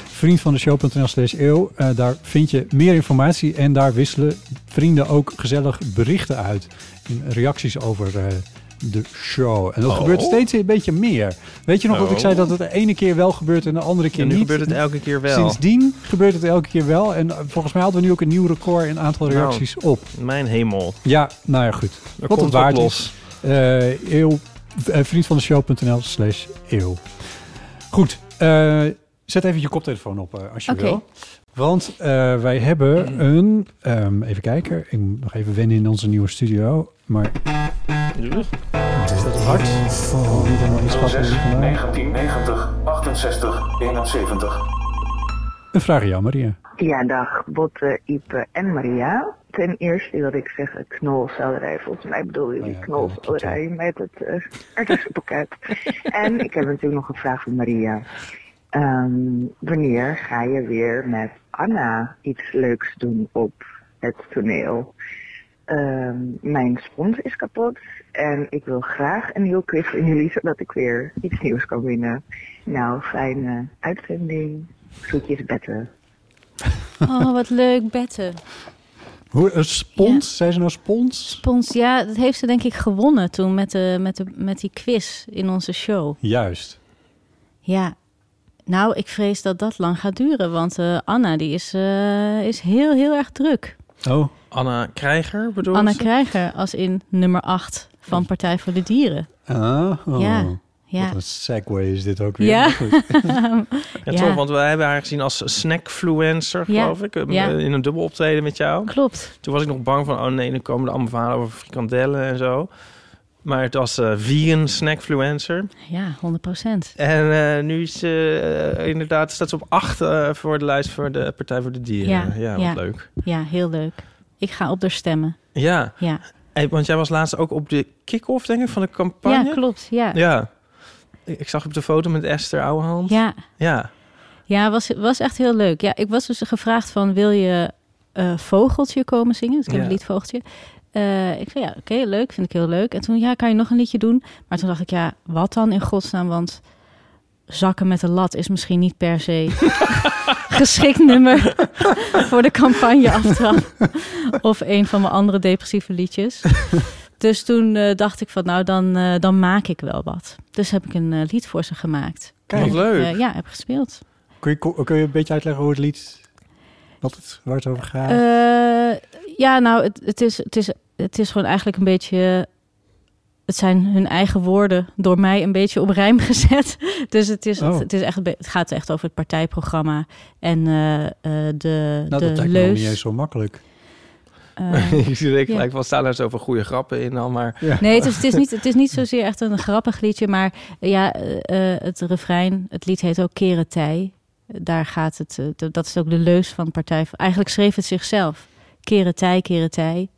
Vriend van de show.nl slash eeuw. Eh, daar vind je meer informatie en daar wisselen vrienden ook gezellig berichten uit. En reacties over eh, de show. En dat
Oh.
gebeurt steeds een beetje meer. Weet je nog wat ik
Oh.
zei dat het de ene keer wel gebeurt en de andere keer
En nu
niet?
gebeurt het elke keer wel.
Sindsdien gebeurt het elke keer wel. En eh, volgens mij hadden we nu ook een nieuw record in aantal
Nou.
reacties op.
Mijn hemel.
Ja, nou ja, goed.
Er
Wat
komt
een
wat
waard
los.
Eh, eeuw, eh, vriendvandeshow.nl slash eeuw. Goed, eh, zet even je koptelefoon op eh, als je
Oké.
wil. Want eh, wij hebben een... ehm, even kijken, ik moet nog even wennen in onze nieuwe studio. Maar wat is dat hard? Oh, niet helemaal inschatten vandaag.
1990, 68, 71.
Een vraag aan jou, Maria.
Ja, dag, Botte, Ipe en Maria. Ten eerste wil ik zeggen knolselderij. Volgens mij bedoelen jullie
Oh ja,
knolselderij met het eh artsenpakket. en ik heb natuurlijk nog een vraag voor Maria. Ehm, wanneer ga je weer met Anna iets leuks doen op het toneel? Ehm, mijn spons is kapot en ik wil graag een nieuwe quiz van jullie, zodat ik weer iets nieuws kan winnen. Nou, fijne uitzending. Groetjes, Bette.
Oh, wat leuk, Bette.
Hoe, een spons? Zijn ze nou spons?
Spons, ja, dat heeft ze denk ik gewonnen toen met, de, met, de, met die quiz in onze show.
Juist.
Ja, nou, ik vrees dat dat lang gaat duren, want eh, Anna die is, eh, is heel, heel erg druk.
Oh,
Anna Krijger bedoel
Anna
ze?
Krijger als in nummer 8 van Partij voor de Dieren.
Ah, oh.
Ja, ja.
Wat een segue is dit ook weer.
Ja.
Goed.
Ja,
Ja.
toch, want we hebben haar gezien als snackfluencer,
Ja.
geloof ik. eh,
Ja.
In een dubbel optreden met jou.
Klopt.
Toen was ik nog bang van, oh nee, dan komen er allemaal verhalen over frikandellen en zo. Maar het was eh, vegan snackfluencer.
Ja, 100 procent.
En eh, nu is ze eh, inderdaad, staat ze op acht eh, voor de lijst voor de Partij voor de Dieren. Ja,
Ja,
wat
ja.
leuk.
Ja, heel leuk. Ik ga op haar stemmen.
Ja,
Ja,
Hey, want jij was laatst ook op de kick-off, denk ik, van de campagne.
ja klopt. Ja, ja.
Ja. Ik, ik zag op de foto met Esther Ouwehand.
ja.
Ja.
was, was echt heel leuk. Ja, ik was dus gevraagd van, wil je eh, Vogeltje komen zingen? Dus ik heb
Ja.
een lied Vogeltje. Eh, ik zei, ja, oké, leuk. Vind ik heel leuk. En toen, ja, kan je nog een liedje doen? Maar toen dacht ik, ja, wat dan in godsnaam? Want zakken met een lat is misschien niet per se geschikt nummer voor de campagne aftrap. of een van mijn andere depressieve liedjes. Dus toen eh, dacht ik van, nou, dan, eh, dan maak ik wel wat. Dus heb ik een eh, lied voor ze gemaakt.
Wat leuk.
Eh, ja, heb gespeeld.
kun, je, ko- kun je een beetje uitleggen hoe het lied, wat het, waar het over gaat? Nou,
Eh, ja, nou, het, het, is, het, is, het is gewoon eigenlijk een beetje... Het zijn hun eigen woorden door mij een beetje op rijm gezet. Dus het, is,
Oh.
het, is echt, een be- het gaat echt over het partijprogramma en eh, eh, de,
nou,
de
dat lijkt me nog
leus.
niet eens zo makkelijk.
Eh,
ik zie er gelijk
ja.
wel staan er zoveel goede grappen in al, maar...
Nee, het is, het, is niet, het is niet zozeer echt een grappig liedje, maar eh, ja, eh, eh, het refrein, het lied heet ook Keren Tij. Daar gaat het, eh, de- dat is ook de leus van Partij. voor- Eigenlijk schreef het zichzelf. Keren Tij, Keren Tij.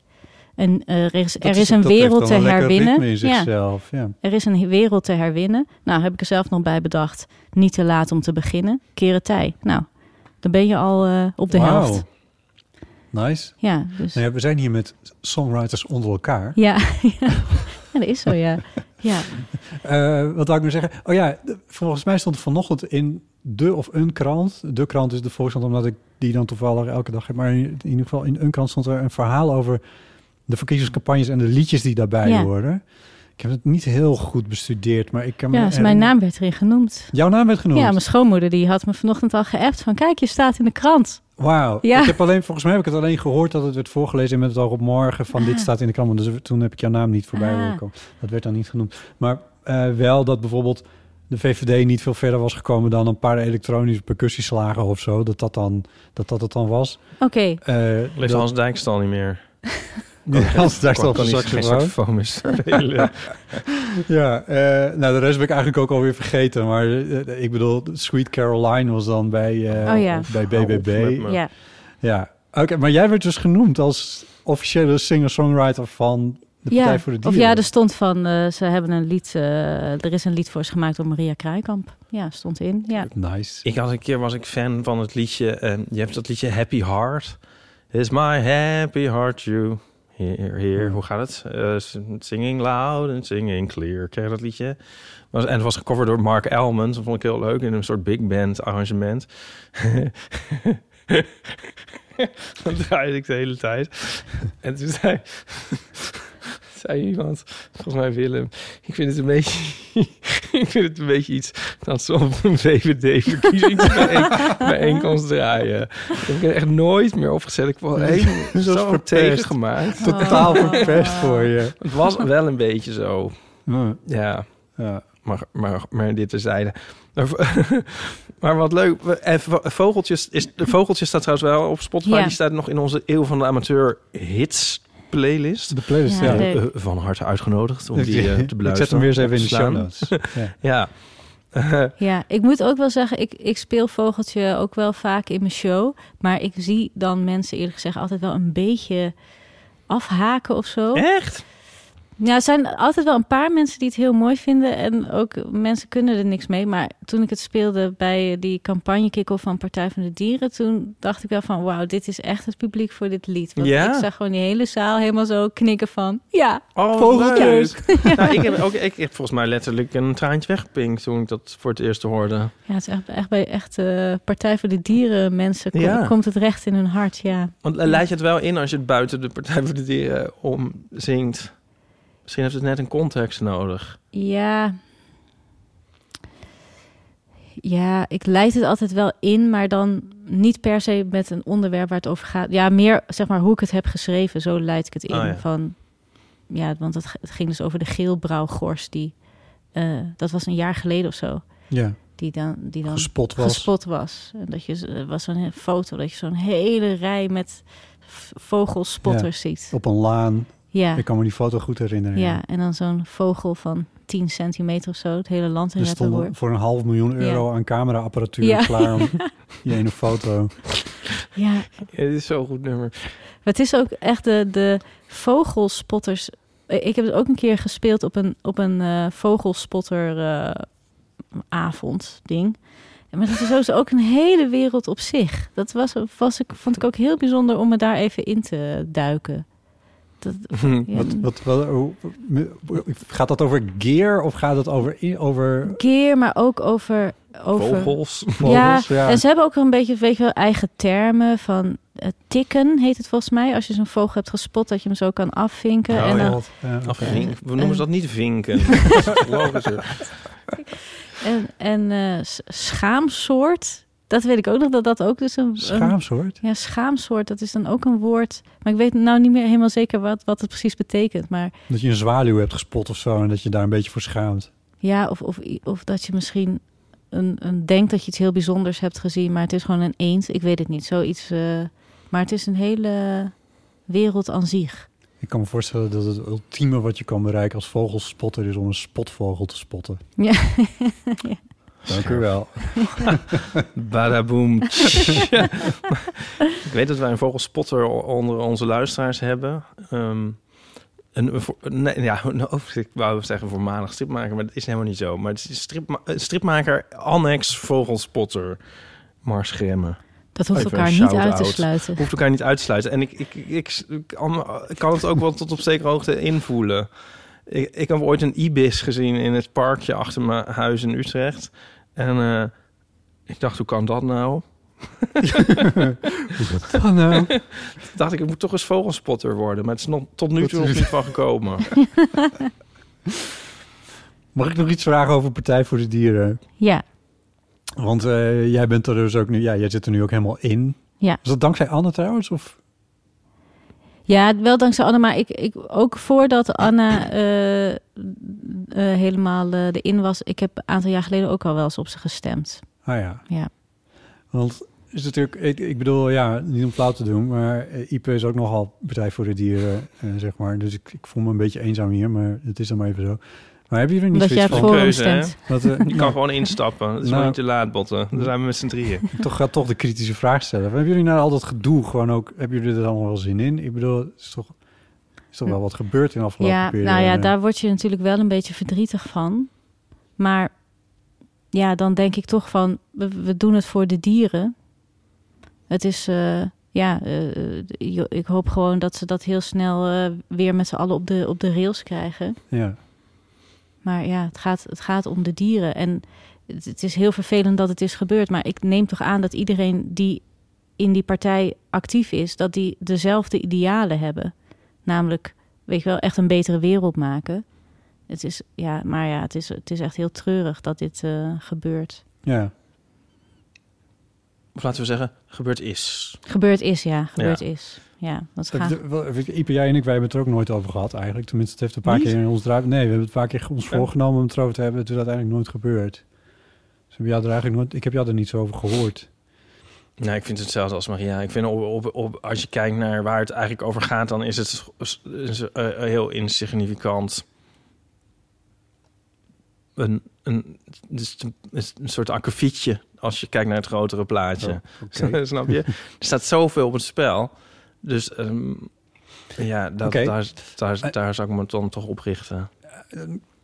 En eh, er is,
Dat
er is een
dat heeft
wereld te
dan lekker ritme
herwinnen.
in
Ja,
zichzelf, ja.
er is een wereld te herwinnen. Nou, heb ik er zelf nog bij bedacht. Niet te laat om te beginnen. Keren Tij. Nou, dan ben je al eh, op de
Wauw.
helft.
Nice.
Ja, dus.
Nou ja, we zijn hier met songwriters onder elkaar.
Ja, ja. ja, dat is zo, ja. Ja,
Eh, wat wou ik nu zeggen? Oh ja, de- volgens mij stond vanochtend in de of een krant. De krant is de Volkskrant, omdat ik die dan toevallig elke dag heb. Maar in, in ieder geval in een krant stond er een verhaal over de verkiezingscampagnes en de liedjes die daarbij
Ja.
horen. Ik heb het niet heel goed bestudeerd, maar ik kan me
Ja, dus mijn
herinneren-
naam werd erin genoemd.
Jouw naam werd genoemd?
Ja, mijn schoonmoeder die had me vanochtend al geappt van kijk, je staat in de krant.
Wauw.
Ja.
Ik heb alleen, volgens mij heb ik het alleen gehoord dat het werd voorgelezen en met het oog op morgen van dit
Ah.
staat in de krant. Dus toen heb ik jouw naam niet voorbij
Ah.
horen komen. Dat werd dan niet genoemd. Maar eh, wel dat bijvoorbeeld de VVD niet veel verder was gekomen dan een paar elektronische percussieslagen of zo. Dat dat dan, dat dat het dan was.
Oké,
Eh,
Leeft
dat-
Hans Dijkstal niet meer?
Ja, Hans Dijkstal
kan
op
niet geen
saxofoon.
saxofoon meer spelen.
Ja, eh, nou de rest heb ik eigenlijk ook alweer vergeten. Maar eh, ik bedoel, Sweet Caroline was dan bij, eh,
Oh ja.
bij
Hou
BBB.
op met me.
ja.
Ja, oké, maar jij werd dus genoemd als officiële singer-songwriter van de Partij
ja.
voor de
Of
Dieren.
ja, er stond van, eh, ze hebben een lied, eh, er is een lied voor ze gemaakt door Maria Kruikamp. Ja, stond in. Ja.
Nice.
Ik had een keer was ik fan van het liedje. eh, je hebt dat liedje Happy Heart. Is my happy heart you. Here, here. Hoe gaat het? Eh, s- singing loud and singing clear. Ken je dat liedje? Was, en het was gecoverd door Mark Elman. Dat vond ik heel leuk. In een soort big band arrangement. dat draaide ik de hele tijd. En toen zei, zei iemand, volgens mij Willem... Ik vind het een beetje, ik vind het een beetje iets dat ze op een VVD-verkiezingsbijeenkomst draaien. Dat heb ik er echt nooit meer opgezet. Ik vond
Nee,
één
dat is
zo
verpest.
tegengemaakt.
Totaal
Oh.
verpest voor je.
Het was wel een beetje zo.
Ja,
Ja,
ja.
maar, maar, maar dit terzijde. Maar, maar wat leuk. we- en vo- Vogeltjes, is, de Vogeltjes staat trouwens wel op Spotify.
Ja.
Die staat nog in onze Eeuw van de Amateur hits playlist.
de playlist.
Ja,
Ja,
leuk.
Eh, van harte uitgenodigd om die eh, te beluisteren.
Ik zet hem weer eens even in de
Slaan.
show notes. Ja.
Ja.
Ja, ik moet ook wel zeggen, ik, ik speel Vogeltje ook wel vaak in mijn show. Maar ik zie dan mensen eerlijk gezegd altijd wel een beetje afhaken of zo.
Echt?
Ja, er zijn altijd wel een paar mensen die het heel mooi vinden. En ook mensen kunnen er niks mee. Maar toen ik het speelde bij die campagnekikkel van Partij van de Dieren... toen dacht ik wel van, wauw, dit is echt het publiek voor dit lied. Want
Ja?
ik zag gewoon die hele zaal helemaal zo knikken van, ja,
Oh,
Vogeltjes.
leuk. nou, ik, heb ook, ik heb volgens mij letterlijk een traantje weggepinkt toen ik dat voor het eerst hoorde.
Ja, het is echt, echt bij echt eh, Partij voor de Dieren mensen kom-
Ja.
komt het recht in hun hart, ja.
Want eh, leid je het wel in als je het buiten de Partij voor de Dieren om zingt? Misschien heeft het net een context nodig.
Ja. Ja, ik leid het altijd wel in, maar dan niet per se met een onderwerp waar het over gaat. Ja, meer zeg maar hoe ik het heb geschreven, zo leid ik het in.
Oh ja.
Van, ja, want het, g- het ging dus over de geelbrouwgors die, eh, dat was een jaar geleden of zo,
ja.
die dan, die dan
Gespot was.
gespot was. En dat je z- er was zo'n he- foto dat je zo'n hele rij met v- vogelspotters ziet.
Op een laan.
Ja.
Ik kan me die foto goed herinneren.
Ja, en dan zo'n vogel van 10 centimeter of zo, het hele land in
Er
reppen
stonden voor een half miljoen euro aan cameraapparatuur
Ja.
klaar om die ene foto.
Ja,
Ja, dit is zo'n goed nummer.
maar het is ook echt de, de vogelspotters. Eh, Ik heb het ook een keer gespeeld op een, op een eh vogelspotter eh, avond ding. Maar dat is sowieso ook een hele wereld op zich. Dat was, was ik, vond ik ook heel bijzonder om me daar even in te duiken. Dat, ja.
Wat, wat, wat- hoe- gaat dat over gear of gaat het over, i- over
Keer, maar ook over... over
Vogels.
vogels? Ja,
En ze hebben ook een beetje, weet je wel, eigen termen van eh, tikken heet het volgens mij. Als je zo'n vogel hebt gespot, dat je hem zo kan afvinken.
Oh,
en, dan,
ja.
eh, Ja, oké.
Of vink- we noemen ze dat niet vinken. Logischer.
en, en eh, s- schaamsoort, dat weet ik ook nog, dat dat ook dus een... een-
Schaamsoort.
ja, schaamsoort, dat is dan ook een woord. Maar ik weet nou niet meer helemaal zeker wat, wat het precies betekent. Maar
Dat je een zwaluw hebt gespot of zo en dat je daar een beetje voor schaamt.
ja, of, of, i- of dat je misschien een, een, denkt dat je iets heel bijzonders hebt gezien, maar het is gewoon een eend. Ik weet het niet, zoiets. eh, maar het is een hele wereld aan zich.
Ik kan me voorstellen dat het ultieme wat je kan bereiken als vogelspotter is om een spotvogel te spotten.
Ja. Ja.
Dank u wel.
Badaboom. ik weet dat wij een vogelspotter onder onze luisteraars hebben. Ehm, een, een vo- nee, ja, een, over- ik wou zeggen voormalig stripmaker, maar dat is helemaal niet zo. Maar het is een stripma- een stripmaker annex vogelspotter. Mars Gremme.
Dat hoeft
Even
elkaar
een
niet uit te
shout-out.
sluiten.
Hoeft elkaar niet uit te sluiten. En ik, ik, ik, ik, ik kan, ik kan het ook wel tot op zekere hoogte invoelen. Ik, ik heb ooit een ibis gezien in het parkje achter mijn huis in Utrecht. En eh, ik dacht, hoe kan dat nou?
Oh, nou.
dacht ik, ik moet toch eens vogelspotter worden. Maar het is nog, tot nu toe nog niet van gekomen.
Mag ik nog iets vragen over Partij voor de Dieren?
Ja,
Want eh, jij bent er dus ook nu, ja, jij zit er nu ook helemaal in.
ja.
Is dat dankzij Anne trouwens? Of?
Ja, wel dankzij Anna, maar ik, ik, ook voordat Anna eh, eh, helemaal eh, erin was, ik heb een aantal jaar geleden ook al wel eens op ze gestemd.
Ah ja.
Ja.
Want is natuurlijk, ik, ik bedoel, ja, niet om flauw te doen, maar eh, Ipe is ook nogal Partij voor de Dieren, eh, zeg maar. Dus ik, ik voel me een beetje eenzaam hier, maar het is dan maar even zo. Maar hebben jullie niet
Omdat
zoiets
jij
van...
voor hem
Keuze, hè?
stemt.
Dat, eh,
Je kan
nou,
gewoon instappen. Het is
Nou.
nog niet te laat, botten. Dan zijn we met z'n drieën.
toch gaat toch de kritische vraag stellen. Hebben jullie nou al dat gedoe gewoon ook, hebben jullie er dan wel zin in? Ik bedoel, het is toch, is toch wel wat gebeurd in de afgelopen
Hm. Ja,
periode?
nou ja, daar word je natuurlijk wel een beetje verdrietig van. Maar ja, dan denk ik toch van, we, we doen het voor de dieren. Het is, eh, ja, eh, je- ik hoop gewoon dat ze dat heel snel eh, weer met z'n allen op de, op de rails krijgen.
Ja,
Maar ja, het gaat, het gaat om de dieren. En het, het is heel vervelend dat het is gebeurd. Maar ik neem toch aan dat iedereen die in die partij actief is, dat die dezelfde idealen hebben. Namelijk, weet je wel, echt een betere wereld maken. Het is, ja, maar ja, het is, het is echt heel treurig dat dit eh, gebeurt.
ja.
Of laten we zeggen, gebeurd is.
Gebeurd is, ja. Gebeurd
Ja.
is. Ja, dat
Dat-
gaat.
de- wel, weet je, Ipe, jij en ik, wij hebben het er ook nooit over gehad eigenlijk. Tenminste, het heeft een paar
Niet?
keer in ons draai... Nee, we hebben het een paar keer ons voorgenomen om het erover te hebben. Het is uiteindelijk nooit gebeurd. Dus we hebben jou er eigenlijk nooit, ik heb jou er niet zo over gehoord.
Nou, ik vind het zelfs als Maria. Ik vind op, op, op, als je kijkt naar waar het eigenlijk over gaat, dan is het s- is, eh, heel insignificant. Een, een, het is een, het is een soort akkefietje als je kijkt naar het grotere plaatje.
Oké.
Snap je? Er staat zoveel op het spel. Dus ehm, ja, dat,
Oké.
daar, daar, daar zou ik me dan toch op richten.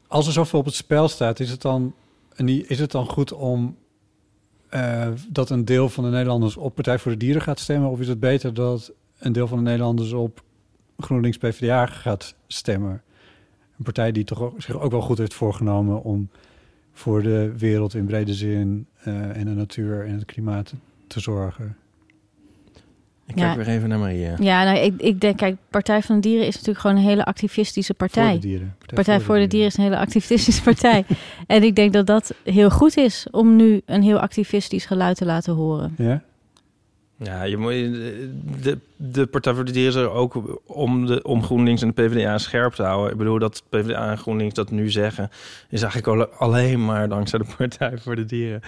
Als er zoveel op het spel staat, is het dan, en die- is het dan goed om... eh, dat een deel van de Nederlanders op Partij voor de Dieren gaat stemmen? Of is het beter dat een deel van de Nederlanders op GroenLinks PvdA gaat stemmen? Een partij die toch ook, zich ook wel goed heeft voorgenomen om voor de wereld in brede zin eh, en de natuur en het klimaat te zorgen.
Ik
Ja.
kijk weer even naar Maria.
Ja, nou, ik, ik denk, kijk, Partij van de Dieren is natuurlijk gewoon een hele activistische partij.
Voor de dieren.
Partij voor de Dieren is een hele activistische partij. en ik denk dat dat heel goed is om nu een heel activistisch geluid te laten horen.
Ja?
Ja, je moet, de, de Partij voor de Dieren is er ook om, de, om GroenLinks en de PvdA scherp te houden. Ik bedoel, dat PvdA en GroenLinks dat nu zeggen... is eigenlijk al- alleen maar dankzij de Partij voor de Dieren.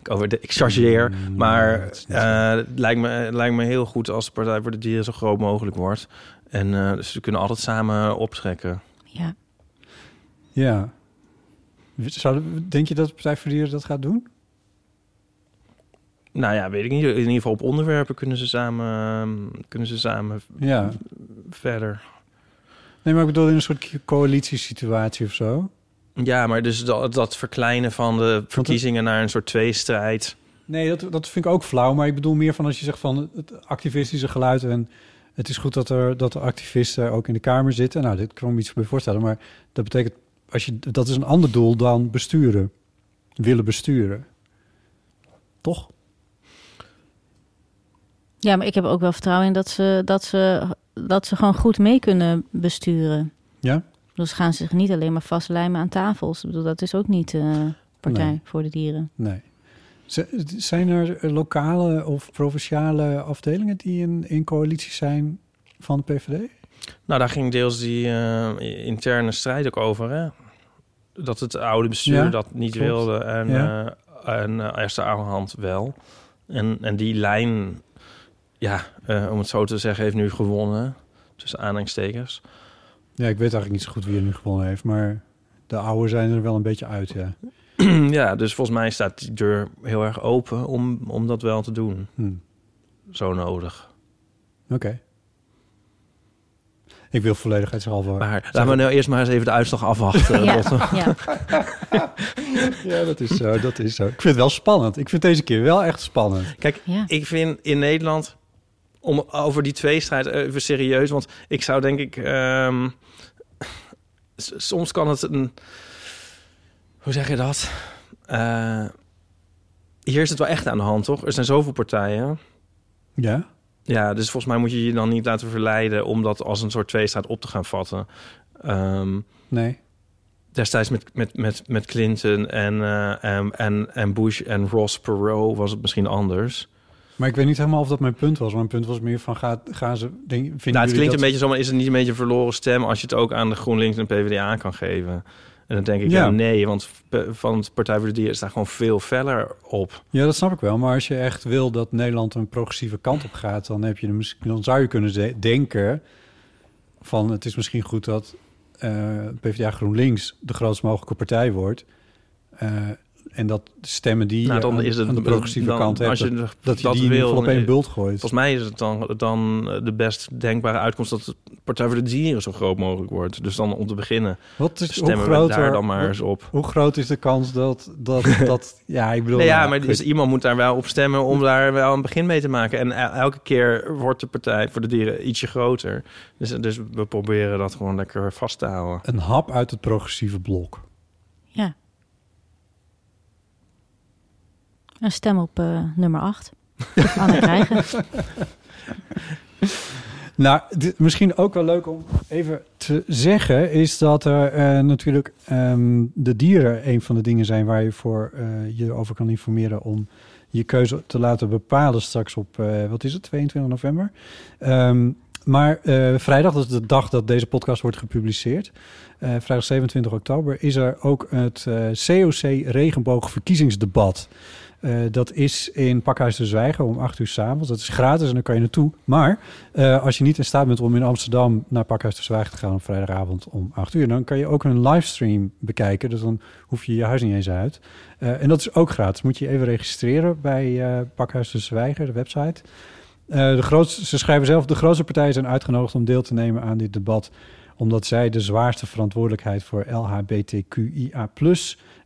Ik, over de, ik chargeer,
Mm,
maar
dat is niet zo.
eh, het lijkt, me, het lijkt me heel goed... als de Partij voor de Dieren zo groot mogelijk wordt. En eh, dus ze kunnen altijd samen optrekken.
Ja.
Ja. Zouden we- denk je dat Partij voor de Dieren dat gaat doen?
Nou ja, weet ik niet. In ieder geval op onderwerpen kunnen ze samen, kunnen ze samen
Ja.
verder.
Nee, maar ik bedoel in een soort coalitiesituatie of zo.
Ja, maar dus dat, dat verkleinen van de verkiezingen naar een soort tweestrijd.
Nee, dat, dat vind ik ook flauw. Maar ik bedoel meer van als je zegt van het activistische geluid. En het is goed dat, er, dat de activisten ook in de Kamer zitten. Nou, dit kan me iets bij voorstellen. Maar dat betekent, als je, dat is een ander doel dan besturen. Willen besturen. Toch?
ja, maar ik heb ook wel vertrouwen in dat ze, dat ze, dat ze gewoon goed mee kunnen besturen.
Ja?
Dus gaan ze zich niet alleen maar vastlijmen aan tafels. Ik bedoel, dat is ook niet eh, Partij
Nee.
voor de Dieren.
Nee. Z- Zijn er eh, lokale of provinciale afdelingen die in, in coalitie zijn van de PVD?
Nou, daar ging deels die eh, interne strijd ook over, hè? Dat het oude bestuur
Ja,
dat niet
klopt.
wilde en,
Ja.
eh, en eh, Esther Ouwehand wel. En, en die lijn, ja, eh, om het zo te zeggen, heeft nu gewonnen. Tussen aanhalingstekens.
Ja, ik weet eigenlijk niet zo goed wie er nu gewonnen heeft. Maar de oude zijn er wel een beetje uit, ja.
ja, dus volgens mij staat die deur heel erg open om, om dat wel te doen.
Hm.
Zo nodig.
Oké. Ik wil volledigheidshalve...
Maar laten we nou eerst maar eens even de uitslag afwachten.
ja,
Lotte.
ja.
Ja, dat is zo, dat is zo. Ik vind het wel spannend. Ik vind deze keer wel echt spannend.
Kijk,
Ja.
ik vind in Nederland om over die tweestrijd even serieus, want ik zou denk ik ehm, s- soms kan het een hoe zeg je dat? Eh, hier is het wel echt aan de hand, toch? Er zijn zoveel partijen.
Ja?
Ja, dus volgens mij moet je je dan niet laten verleiden om dat als een soort tweestrijd op te gaan vatten. Ehm,
Nee.
destijds met, met, met, met Clinton en, eh, en, en, en Bush en Ross Perot was het misschien anders.
Maar ik weet niet helemaal of dat mijn punt was. Mijn punt was meer van, gaat, gaan ze... Denk, vinden
nou, het
jullie
klinkt
dat...
een beetje zo, maar is het niet een beetje een verloren stem als je het ook aan de GroenLinks en PvdA kan geven? En dan denk ik,
Ja.
ja, nee, want p- van het Partij voor de Dieren is daar gewoon veel feller op.
Ja, dat snap ik wel. Maar als je echt wil dat Nederland een progressieve kant op gaat, dan, heb je er misschien, dan zou je kunnen de- denken van het is misschien goed dat eh, PvdA GroenLinks de grootst mogelijke partij wordt. Eh, en dat de stemmen die
Nou,
je
dan
aan,
is het-
aan de progressieve
dan-
kant hebt,
als je
dat, dat
dat
je die in ieder geval op
wil,
één bult gooit.
Volgens mij is het dan, dan eh, de best denkbare uitkomst dat de Partij voor de Dieren zo groot mogelijk wordt. Dus dan om te beginnen
Wat is, Dus hoe
stemmen
groot,
we daar
er-
dan maar
hoe-
eens op.
hoe groot is de kans dat... dat, dat ja, ik bedoel...
Nee, ja,
nou,
maar
goed.
dus iemand moet daar wel op stemmen om daar wel een begin mee te maken. En el- elke keer wordt de Partij voor de Dieren ietsje groter. Dus, dus we proberen dat gewoon lekker vast te houden.
Een hap uit het progressieve blok.
Ja. Een stem op eh, nummer 8. Anne krijgen.
Nou, dit- misschien ook wel leuk om even te zeggen... is dat er eh, natuurlijk ehm, de dieren een van de dingen zijn... waar je voor, eh, je over kan informeren om je keuze te laten bepalen straks op... eh, wat is het, 22 november? Ehm, maar eh, vrijdag, dat is de dag dat deze podcast wordt gepubliceerd... eh, vrijdag 27 oktober... is er ook het eh, COC Regenboogverkiezingsdebat... Eh, dat is in Pakhuis de Zwijger om 8 uur s'avonds. Dat is gratis en dan kan je naartoe. Maar eh, als je niet in staat bent om in Amsterdam naar Pakhuis de Zwijger te gaan op vrijdagavond om 8 uur, dan kan je ook een livestream bekijken. Dus dan hoef je je huis niet eens uit. Eh, en dat is ook gratis. Moet je je even registreren bij eh Pakhuis de Zwijger, de website. Eh, de grootste, ze schrijven zelf, de grootste partijen zijn uitgenodigd om deel te nemen aan dit debat omdat zij de zwaarste verantwoordelijkheid voor LHBTQIA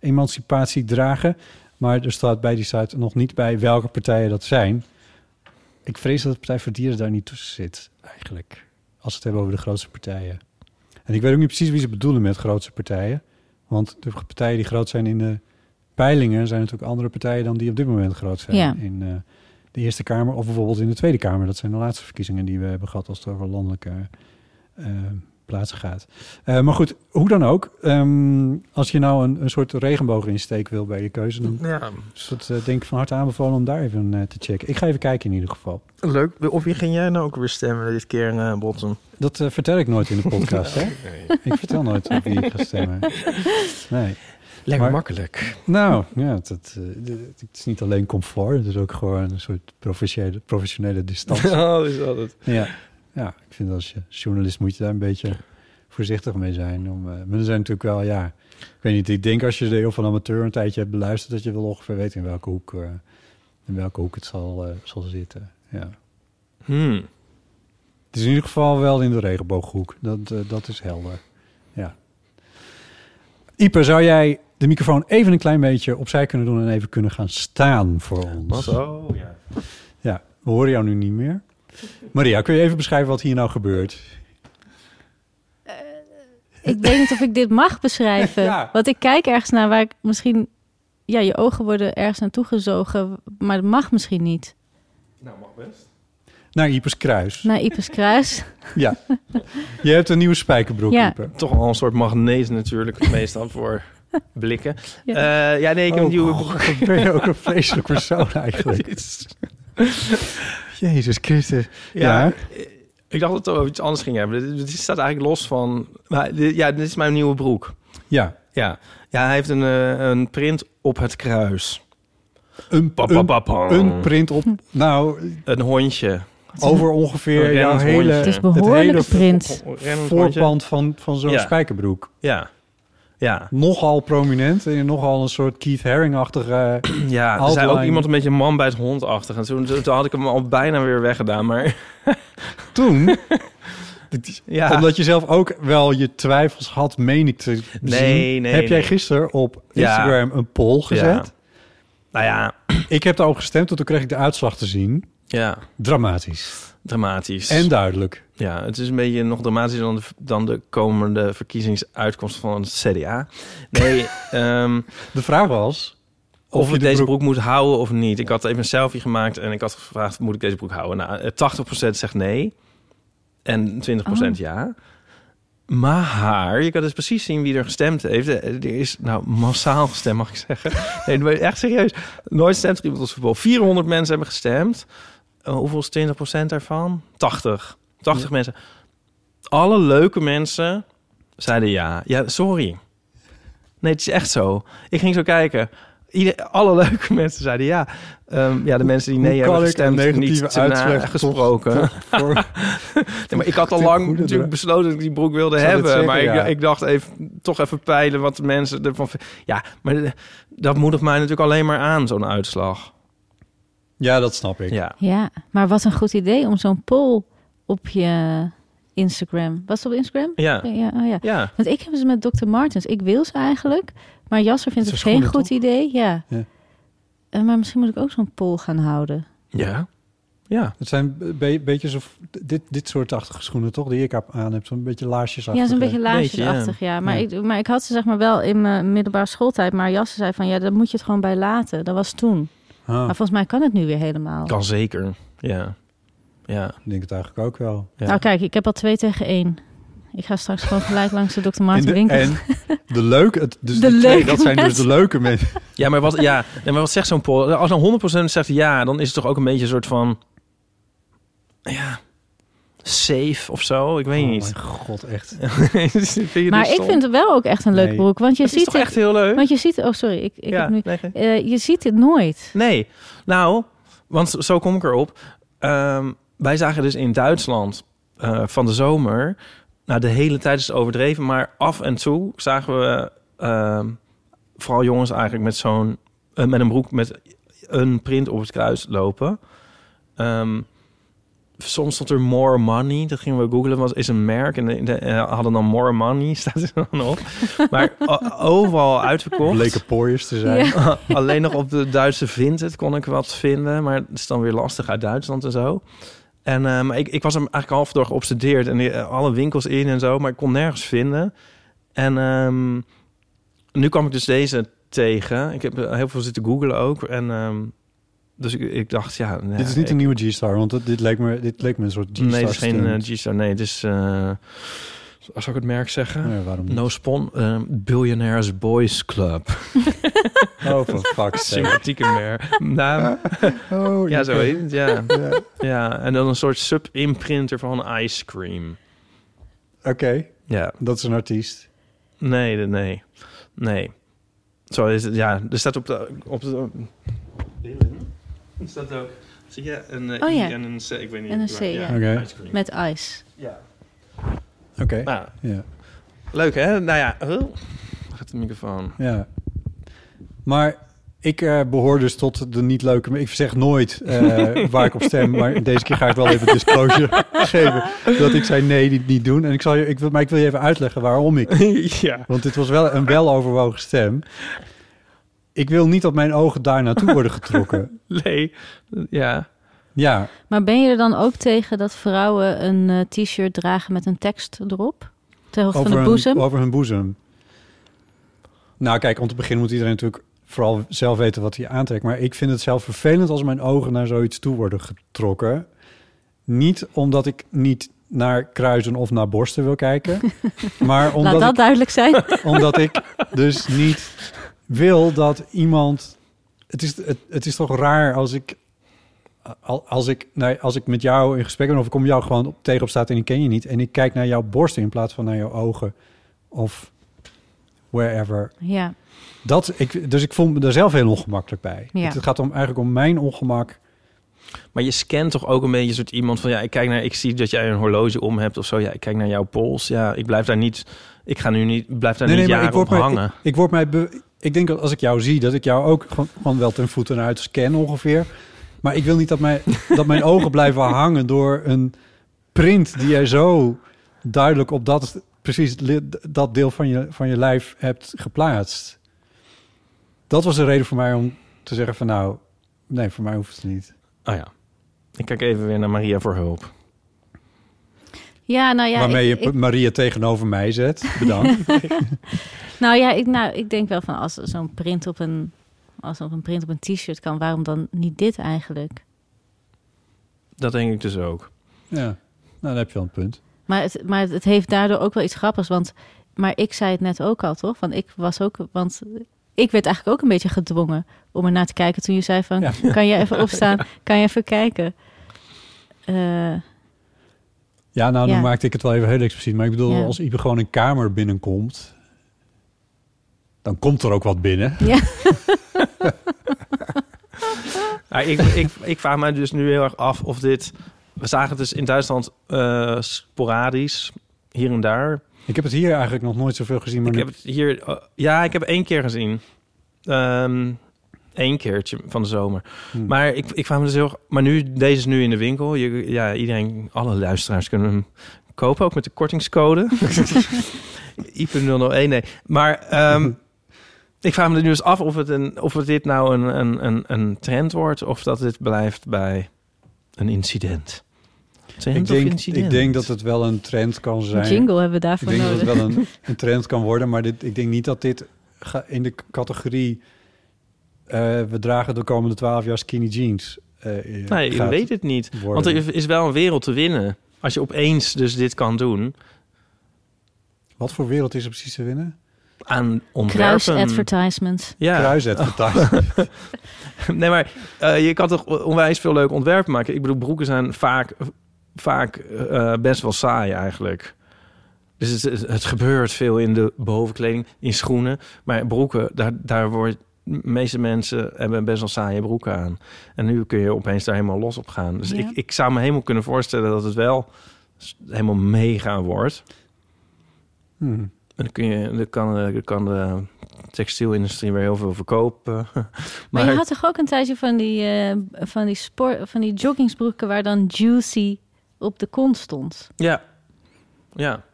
emancipatie dragen. Maar er staat bij die site nog niet bij welke partijen dat zijn. Ik vrees dat de Partij voor Dieren daar niet tussen zit, eigenlijk. Als we het hebben over de grootste partijen. En ik weet ook niet precies wie ze bedoelen met grootste partijen. Want de partijen die groot zijn in de peilingen... zijn natuurlijk andere partijen dan die op dit moment groot zijn.
Ja.
In eh, de Eerste Kamer of bijvoorbeeld in de Tweede Kamer. Dat zijn de laatste verkiezingen die we hebben gehad... als het over landelijke eh, plaatsen gaat. Eh, maar goed, hoe dan ook. ehm, als je nou een, een soort regenbooginsteek wil bij je keuze... dan
Ja.
dus dat eh, denk ik van harte aanbevolen om daar even eh, te checken. Ik ga even kijken in ieder geval.
Leuk. Of wie ging jij nou ook weer stemmen dit keer, eh Botten?
Dat eh, vertel ik nooit in de podcast, hè? Ik vertel nooit op wie ik ga stemmen. Nee.
Lekker
Maar-
makkelijk.
Nou, ja, dat, eh, d- d- het is niet alleen comfort. Het is ook gewoon een soort professionele, professionele distantie.
Oh, is dat het.
ja. ja, ik vind als je journalist moet je daar een beetje voorzichtig mee zijn. Om, eh, maar er zijn natuurlijk wel, ja... Ik weet niet, ik denk als je de heel van amateur een tijdje hebt beluisterd... dat je wel ongeveer weet in welke hoek, eh, in welke hoek het zal, eh, zal zitten. Ja.
Hmm.
Het is in ieder geval wel in de regenbooghoek. Dat, eh, dat is helder. Ja. Ieper, zou jij de microfoon even een klein beetje opzij kunnen doen... en even kunnen gaan staan voor ons?
Oh, ja.
Ja, we horen jou nu niet meer. Maria, kun je even beschrijven wat hier nou gebeurt?
Ik weet niet of ik dit mag beschrijven.
Ja.
Want ik kijk ergens naar waar ik misschien... Ja, je ogen worden ergens naartoe gezogen. Maar dat mag misschien niet.
Nou, mag best.
Naar Iepers kruis.
Naar Ipers Kruis.
Ja. Je hebt een nieuwe spijkerbroek,
Ja.
Ieper.
Toch al een soort magneet natuurlijk, meestal voor blikken. Eh,
Ja.
Ja, ja nee, ik heb een
Oh,
nieuwe
God, wat ben je ook een vreselijk persoon eigenlijk. Jezus Christus.
Ja.
Ja.
Ik dacht dat we over iets anders gingen hebben. Dit, dit staat eigenlijk los van... Maar dit- ja, dit is mijn nieuwe broek.
Ja.
Ja, ja hij heeft een, eh, een print op het kruis.
Een,
Pa, pa,
een,
pa, pa.
een print op... Nou,
Een hondje.
over ongeveer
Een
jouw
rennend
hele...
hondje.
Het is
Het
behoorlijk
hele-
print.
Een rennend hondje.
voorpand van, van zo'n
Ja.
spijkerbroek.
Ja. Ja.
Nogal prominent en nogal een soort Keith Haring-achtige...
Ja, er
Outline.
zei ook iemand een beetje man bij het hondachtig. En toen, toen had ik hem al bijna weer weggedaan. Maar
Toen,
ja,
omdat je zelf ook wel je twijfels had, meen ik te zien...
Nee, nee,
heb jij
nee.
gisteren op
Ja.
Instagram een poll gezet.
nou ja,
Ik heb daarop gestemd, want toen kreeg ik de uitslag te zien.
ja,
Dramatisch.
dramatisch.
En duidelijk.
Ja, het is een beetje nog dramatischer dan de, dan de komende verkiezingsuitkomst van het CDA. Nee, ehm,
De vraag was...
of,
Of je
ik
de
deze
broek-
broek... moet houden of niet. Ik had even een selfie gemaakt en ik had gevraagd, moet
Oh.
ik deze broek houden? Nou, eh, 80% zegt nee en 20% ja. Maar je kan dus precies zien wie er gestemd heeft. Er is nou massaal gestemd, mag ik zeggen. Nee, maar echt serieus. Nooit stemt er iemand op voetbal. 400 mensen hebben gestemd. Eh, hoeveel is 20% daarvan? 80. 80 mensen. Alle leuke mensen zeiden ja. Ja, sorry. Nee, het is echt zo. Ik ging zo kijken. Ieder- alle leuke mensen zeiden ja. Ehm, ja, de mensen die nee
Hoe
hebben
kan ik een
gestemd,
negatieve
niet te na
uitslag tot-
gesproken.
tot voor-
nee, maar ik had al
ten
lang
goede
natuurlijk
dra-
besloten dat ik die broek wilde
Ik zou dit zeggen,
hebben. maar ik,
ja.
ik dacht even, toch even peilen wat de mensen ervan vinden. Ja, maar eh, dat moedigt mij natuurlijk alleen maar aan, zo'n uitslag.
Ja, dat snap ik.
Ja.
Ja, maar wat een goed idee om zo'n poll op je Instagram. Was het op Instagram?
Ja.
ja, oh ja.
Ja.
Want ik heb ze met Dr. Martens. Ik wil ze eigenlijk, maar Jasser vindt
Met
het
zijn
geen
schoenen,
goed idee. Ja.
Ja.
Eh, Maar misschien moet ik ook zo'n poll gaan houden.
Ja. Ja.
Het zijn een be- beetje zo dit, dit soort achtige schoenen, toch? Die ik heb aan heb. Zo'n beetje laarsjesachtig.
Ja, zo'n beetje
hè?
laarsjesachtig, ja. Maar, Ik, maar ik had ze zeg maar wel in mijn middelbare schooltijd. Maar Jasser zei van, ja, daar moet je het gewoon bij laten. Dat was toen.
Ah.
Maar volgens mij kan het nu weer helemaal.
Kan zeker. Ja. Ja.
Ik denk het eigenlijk ook wel.
Nou kijk, ik heb al twee tegen één. Ik ga straks gewoon gelijk langs de Dr.
In
Martens
de-
winkel.
en de leuke, het, dus
De
die twee,
leuke
dat zijn dus
mensen.
de leuke mensen.
Ja, maar wat, ja, nee, maar wat zegt zo'n poll? Als dan 100% zegt ja, dan is het toch ook een beetje een soort van... Ja, safe of zo? Ik weet
Oh
niet.
mijn god, echt.
Vind je dit
Maar ik
stom?
vind het wel ook echt een leuk
Nee.
broek. Want je
Het is
ziet
toch
het,
echt heel leuk?
Want je ziet, oh sorry, ik, ik
Ja,
heb nu,
nee, nee.
Eh, je ziet het nooit.
Nee, nou, want zo- zo kom ik erop. Ehm, wij zagen dus in Duitsland eh, van de zomer... Nou, de hele tijd is het overdreven, maar af en toe zagen we... ehm, vooral jongens eigenlijk met zo'n... eh, met een broek met een print op het kruis lopen. Ehm, soms stond er More Money. Dat gingen we googlen. Was is een merk en de, de- eh, hadden dan More Money staat er dan op. Maar o- overal uitverkocht.
Bleken pooiers te zijn.
Alleen nog op de Duitse Vinted kon ik wat vinden. Maar het is dan weer lastig uit Duitsland en zo. En eh, maar ik, ik was hem eigenlijk half door geobsedeerd. En die- eh, alle winkels in en zo. Maar ik kon nergens vinden. En ehm, nu kwam ik dus deze tegen. Ik heb eh, heel veel zitten googlen ook. En ehm, dus ik, ik dacht, ja... nou
Oh, dit is
ja,
niet
ik-
een nieuwe G-Star, want dit, dit, leek me, dit leek me een soort G-Star.
Nee, het is geen eh,
stunt.
G-Star. Nee, het is... eh zou ik het merk zeggen?
Nee, waarom niet?
No Spon, eh, Billionaires Boys Club.
Oh, for fuck's sake.
Sympathieke merk. Naam.
Oh,
Ja, zo
oké.
heet het, ja.
Ja,
Ja, en dan een soort sub-imprinter van ice cream.
Oké,
Ja.
dat is een artiest.
Nee, nee, nee. Nee. Zo is het, ja. Er staat op de... Op de er staat ook... Zie je? Een eh,
Oh,
I
ja.
en een C. Ik weet niet.
En een
waar-
C, ja.
Oké.
Ice cream.
Met ice.
Ja.
Oké,
Nou,
ja.
leuk hè? Nou ja. huh? Waar gaat de microfoon?
ja. Maar ik eh, behoor dus tot de niet leuke... Ik zeg nooit eh, waar ik op stem, maar deze keer ga ik wel even disclosure geven. Dat ik zei nee, dit niet doen. En ik zal je, ik wil, maar ik wil je even uitleggen waarom ik
ja.
Want dit was wel een weloverwogen stem. Ik wil niet dat mijn ogen daar naartoe worden getrokken.
Nee. Ja.
Ja,
Maar ben je er dan ook tegen dat vrouwen een eh, t-shirt dragen met een tekst erop? Ter hoogte van
over,
de boezem?
Hun, over hun boezem. Nou kijk, om te beginnen moet iedereen natuurlijk vooral zelf weten wat hij aantrekt. Maar ik vind het zelf vervelend als mijn ogen naar zoiets toe worden getrokken. Niet omdat ik niet naar kruisen of naar borsten wil kijken. maar omdat
Laat dat
ik
duidelijk zijn.
Omdat ik dus niet wil dat iemand. Het is, het, het is toch raar als ik. al- Als ik, nee, als ik met jou in gesprek ben of ik kom jou gewoon op, tegen op straat en ik ken je niet. En ik kijk naar jouw borsten in plaats van naar jouw ogen. Of wherever.
ja.
Dat, ik, dus ik voel me daar zelf heel ongemakkelijk bij.
Ja.
Het, gaat om, eigenlijk om mijn ongemak.
Maar je scant toch ook een beetje een soort iemand van ja, ik kijk naar, ik zie dat jij een horloge om hebt of zo. Ja, ik kijk naar jouw pols. Ja, ik blijf daar niet, ik ga nu niet, blijf daar niet jaren op
mij,
hangen.
ik, ik word mij be- ik denk dat als ik jou zie, dat ik jou ook gewoon, gewoon wel ten voeten uit scan ongeveer. Maar ik wil niet dat, mij, dat mijn ogen blijven hangen door een print die jij zo duidelijk op dat, precies li- dat deel van je, van je lijf hebt geplaatst. Dat was de reden voor mij om te zeggen van nou, nee, voor mij hoeft het niet.
Oh ja. Ik kijk even weer naar Maria voor hulp.
ja, nou ja.
Waarmee
ik-
je
ik-
Maria tegenover mij zet. Bedankt.
nou ja, ik, nou, ik denk wel van als er zo'n print op een, als er op een print op een t-shirt kan, waarom dan niet dit eigenlijk?
Dat denk ik dus ook.
ja, nou, daar heb je wel een punt.
Maar het, maar het heeft daardoor ook wel iets grappigs. Want, maar ik zei het net ook al, toch? Want ik was ook. Want ik werd eigenlijk ook een beetje gedwongen om ernaar te kijken toen je zei van
Ja.
kan je even opstaan, kan je even kijken. Eh,
Ja, nou, dan
Ja.
maakte ik het wel even heel expliciet. Maar ik bedoel,
Ja.
als Ipe gewoon een kamer binnenkomt... dan komt er ook wat binnen.
ja.
Ja, ik, ik, ik vraag mij dus nu heel erg af of dit... We zagen het dus in Duitsland eh, sporadisch, hier en daar.
Ik heb het hier eigenlijk nog nooit zoveel gezien. Maar
Ik
nu-
heb het hier... eh, ja, ik heb één keer gezien. Ehm Eén keertje van de zomer.
Hmm.
Maar ik, ik vraag me dus heel... erg- Maar nu, deze is nu in de winkel. Je, ja, iedereen, alle luisteraars kunnen hem kopen. Ook met de kortingscode. IP001, nee. Maar ehm, ik vraag me nu dus af of, het een, of het dit nou een, een, een, een trend wordt... of dat dit blijft bij een incident. Trend
ik,
of
denk,
incident?
ik denk dat het wel een trend kan zijn.
Een jingle hebben we
Ik
daarvoor
denk dat
nodig.
het wel een, een trend kan worden, maar dit, ik denk niet dat dit ga- in de categorie... eh, we dragen de komende twaalf jaar skinny jeans. eh,
Nee, je
gaat
weet het niet. Want
worden.
er is wel een wereld te winnen. Als je opeens dus dit kan doen
Wat voor wereld is er precies te winnen?
aan
Kruis
ontwerpen.
advertisement.
ja.
Kruisadvertising.
Nee, maar eh, je kan toch onwijs veel leuk ontwerpen maken. Ik bedoel, broeken zijn vaak, vaak eh, best wel saai eigenlijk. Dus het, het- het gebeurt veel in de bovenkleding, in schoenen. Maar broeken, daar, daar wordt... De meeste mensen hebben best wel saaie broeken aan. En nu kun je opeens daar helemaal los op gaan. Dus
Ja.
ik, ik zou me helemaal kunnen voorstellen dat het wel s- helemaal mega wordt.
Hmm.
En dan, kun je, dan, kan, eh, dan kan de textielindustrie weer heel veel verkopen. Maar,
Maar, je had toch ook een tijdje van die, eh, van, die sport, van die joggingsbroeken waar dan juicy op de kont stond.
Ja. Ja.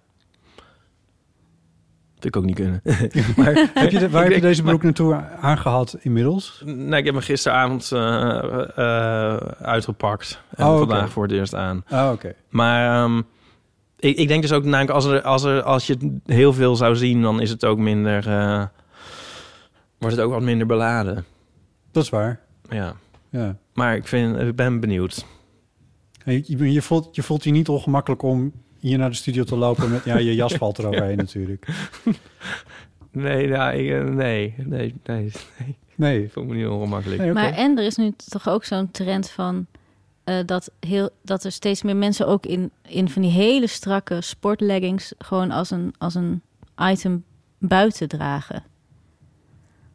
Vind ik ook niet kunnen. maar,
Heb je de- waar heb
Ik
je
denk-
deze broek naartoe aangehad inmiddels?
nee, ik heb me gisteravond eh, eh, uitgepakt. En
Oh, oké.
vandaag voor het eerst aan.
Ah, oké.
Maar ehm, ik, ik denk dus ook, namelijk als, er, als, er, als je heel veel zou zien, dan is het ook minder... eh, wordt het ook wat minder beladen.
Dat is waar.
Ja.
Ja.
Maar ik, vind, ik ben benieuwd.
En Je, je, voelt, je voelt je niet ongemakkelijk om hier naar de studio te lopen. Met, ja, je jas valt eroverheen natuurlijk.
Nee, nou, ik, eh, nee, nee, nee. nee.
Nee.
Ik voel me niet ongemakkelijk.
nee oké.
Maar en er is nu toch ook zo'n trend van eh, dat, heel, dat er steeds meer mensen ook in, in van die hele strakke sportleggings gewoon als een, als een item buiten dragen.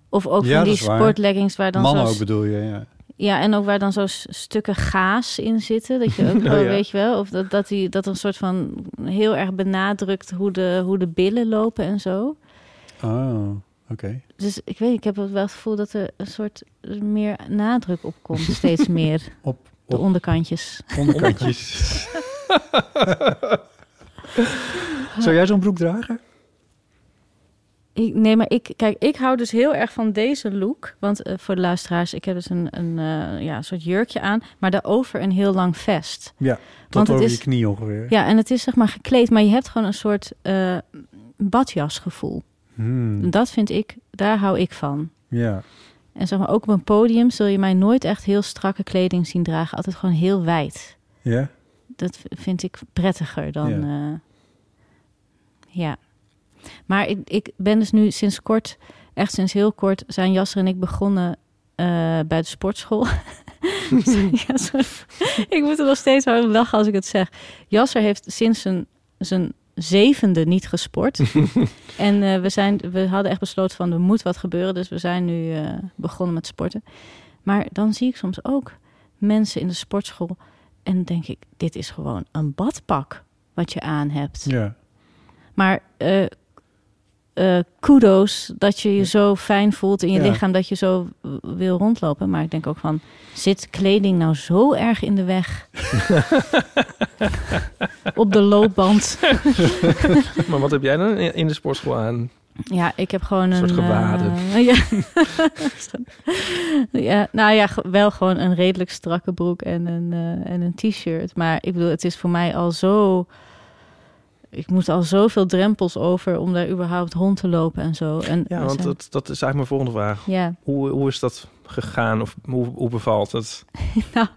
Of ook
Ja,
van
dat
die
is waar.
sportleggings waar dan
Mannen
zo'n-
ook bedoel je, ja.
Ja, en ook waar dan zo s- stukken gaas in zitten. Dat
Oh
je ook wel,
ja.
weet je wel, of dat, dat, die, dat een soort van heel erg benadrukt hoe de, hoe de billen lopen en zo.
Oh, oké.
Dus ik weet, ik heb wel het gevoel dat er een soort meer nadruk op komt, steeds meer.
Op,
De
op
onderkantjes.
onderkantjes. Zou jij zo'n broek dragen?
Ik, nee, maar ik, kijk, ik hou dus heel erg van deze look. Want eh, voor de luisteraars, ik heb dus een, een eh, ja, een soort jurkje aan, maar daarover een heel lang vest.
Ja,
Want
tot
het
over je
is-
knie ongeveer.
Ja, en het is zeg maar gekleed, maar je hebt gewoon een soort eh, badjasgevoel.
Hmm,
Dat vind ik, daar hou ik van.
ja.
En zeg maar, ook op een podium zul je mij nooit echt heel strakke kleding zien dragen. Altijd gewoon heel wijd.
ja.
Dat v- vind ik prettiger dan...
Ja.
Ja. ja. Maar ik, ik ben dus nu sinds kort, echt sinds heel kort... zijn Jasser en ik begonnen eh, bij de sportschool. ja, sorry. Ik moet er nog steeds hard om lachen als ik het zeg. Jasser heeft sinds zijn, zijn zevende niet gesport. en eh, we, zijn, we hadden echt besloten van er moet wat gebeuren. Dus we zijn nu eh, begonnen met sporten. Maar dan zie ik soms ook mensen in de sportschool. En dan denk ik, dit is gewoon een badpak wat je aan hebt.
Ja.
Maar eh, eh, kudos dat je je zo fijn voelt in je
Ja.
lichaam dat je zo w- wil rondlopen. Maar ik denk ook van, zit kleding nou zo erg in de weg? Op de loopband.
Maar wat heb jij dan in in de sportschool aan?
Ja, ik heb gewoon een...
Een soort gewaden.
eh, ja. ja, nou ja, ge- wel gewoon een redelijk strakke broek en een, eh, en een t-shirt. Maar ik bedoel, het is voor mij al zo... Ik moet al zoveel drempels over om daar überhaupt rond te lopen en zo. En
Ja,
we
want
zijn-
dat, dat is eigenlijk mijn volgende vraag.
Ja,
Hoe, hoe is dat gegaan of hoe, hoe bevalt het?
nou,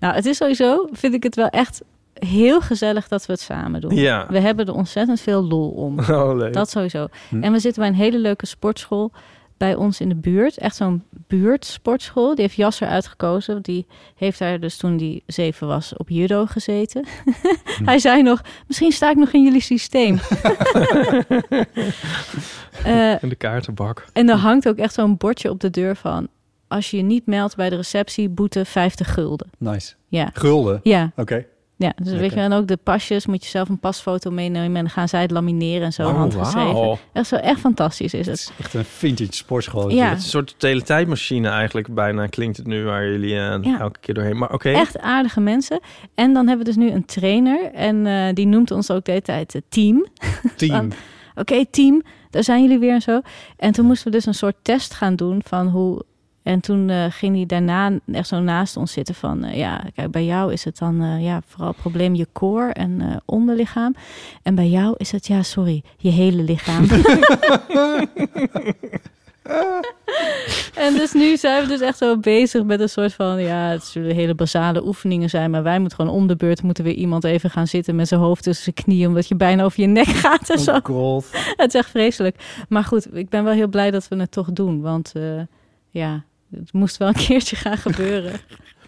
nou, het is sowieso, vind ik het wel echt heel gezellig dat we het samen doen.
Ja.
We hebben er ontzettend veel lol om.
Oh, leuk.
Dat sowieso.
Hm.
En we zitten bij een hele leuke sportschool bij ons in de buurt. Echt zo'n buurtsportschool. Die heeft Jasser uitgekozen. Die heeft daar dus toen hij zeven was op judo gezeten. Hij zei nog, misschien sta ik nog in jullie systeem. Eh,
In de kaartenbak.
en er hangt ook echt zo'n bordje op de deur van... als je je niet meldt bij de receptie, boete 50 gulden.
Nice.
Ja.
Gulden?
Ja.
Oké.
Ja, dus weet
Lekker.
je, en ook de pasjes, moet je zelf een pasfoto meenemen... en dan gaan zij het lamineren en zo
Oh,
handgeschreven.
wauw.
Echt, zo, echt fantastisch is het.
Echt een vintage sportschool.
Ja.
Het is een soort teletijdmachine eigenlijk bijna klinkt het nu waar jullie eh,
Ja.
elke keer doorheen. Maar oké.
Echt aardige mensen. En dan hebben we dus nu een trainer. En eh, die noemt ons ook de hele tijd eh, team.
Team.
Van, Oké, team, daar zijn jullie weer en zo. En toen moesten we dus een soort test gaan doen van hoe... En toen eh, ging hij daarna echt zo naast ons zitten van... eh, ja, kijk, bij jou is het dan eh, ja, vooral het probleem je core en eh, onderlichaam. En bij jou is het, ja, sorry, je hele lichaam. En dus nu zijn we dus echt zo bezig met een soort van... ja, het zullen hele basale oefeningen zijn... maar wij moeten gewoon om de beurt... moeten weer iemand even gaan zitten met zijn hoofd tussen zijn knieën... omdat je bijna over je nek gaat en zo.
Oh god.
Het is echt vreselijk. Maar goed, ik ben wel heel blij dat we het toch doen. Want eh, ja, het moest wel een keertje gaan gebeuren.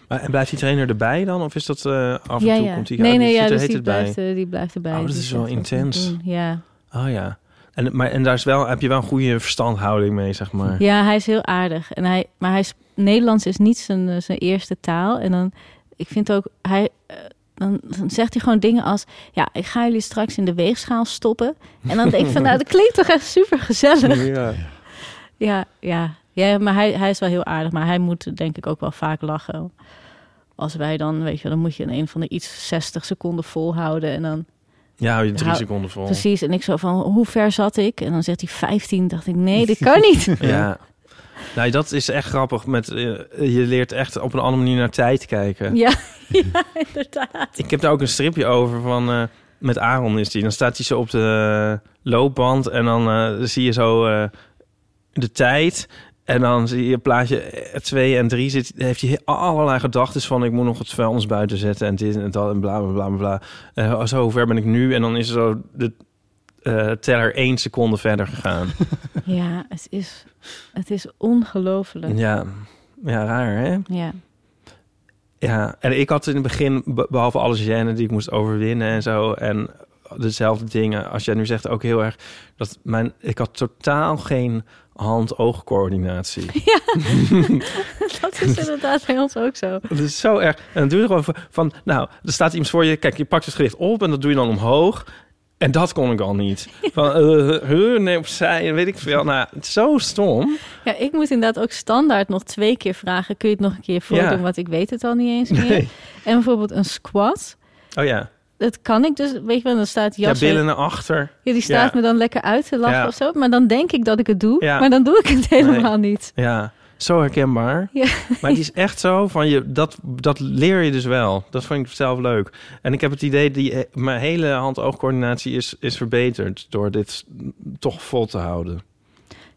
Maar, en blijft die trainer erbij dan? Of is dat eh, af en
ja,
toe
ja.
komt die
nee,
oh,
nee,
die
ja,
zit er
dus
heet
die
het bij.
blijft, eh, die blijft erbij.
Oh, dat
Die
is wel
gaat dat
intens.
doen, Ja.
Oh ja. En, maar, en daar is wel, heb je wel een goede verstandhouding mee, zeg maar.
Ja, hij is heel aardig. En hij, maar hij is, Nederlands is niet zijn, eh, zijn eerste taal. En dan, ik vind ook, hij, eh, dan, dan zegt hij gewoon dingen als... Ja, ik ga jullie straks in de weegschaal stoppen. En dan denk ik van, nou, dat klinkt toch echt super gezellig.
Ja.
Ja, ja. ja maar hij, hij is wel heel aardig. Maar hij moet denk ik ook wel vaak lachen. Als wij dan, weet je wel, dan moet je in een van de iets 60 seconden volhouden. En dan
Ja, hou je drie
Hou- Dus
seconden vol.
precies. En ik zo van, hoe ver zat ik? En dan zegt hij 15. dacht ik, nee, dit kan niet.
Ja. Nou, dat is echt grappig. Met, eh, je leert echt op een andere manier naar tijd kijken.
Ja, ja inderdaad.
Ik heb daar ook een stripje over van... eh, met Aaron is die. Dan staat hij zo op de loopband en dan eh, zie je zo eh, de tijd... En dan zie je plaatje 2 en 3 zit, heeft hij allerlei gedachten van ik moet nog het vuilnis buiten zetten en dit en dat en bla bla bla bla, bla. Eh, zo ver ben ik nu en dan is er zo de eh, teller één seconde verder gegaan.
Ja, het is, het is ongelooflijk.
ja. ja, raar hè?
Ja.
Ja, en ik had in het begin, be- behalve alle genen die ik moest overwinnen en zo, en dezelfde dingen, als jij nu zegt, ook heel erg, dat mijn, ik had totaal geen hand-oogcoördinatie.
Dat is inderdaad bij ons ook zo.
Dat is zo erg. En dan doe je gewoon van- van, nou, er staat iemand voor je, kijk, je pakt het gericht op en dat doe je dan omhoog. En dat kon ik al niet. Van, eh, huh, nee, opzij, en weet ik veel. Nou, het is zo stom.
Ja, ik moet inderdaad ook standaard nog twee keer vragen. Kun je het nog een keer voordoen?
Ja.
Want ik weet het al niet eens meer.
Nee.
En bijvoorbeeld een squat.
Oh ja,
Dat kan ik dus. Weet je wel, dan staat
ja
Jas...
billen naar achter.
die staat
Ja.
me dan lekker uit te lachen
Ja.
of zo. Maar dan denk ik dat ik het doe.
Ja.
Maar dan doe ik het helemaal niet.
Ja, zo herkenbaar.
Ja.
Maar het is echt zo van je, dat, dat leer je dus wel. Dat vond ik zelf leuk. En ik heb het idee, die, eh, mijn hele hand-oogcoördinatie is, is verbeterd door dit toch vol te houden.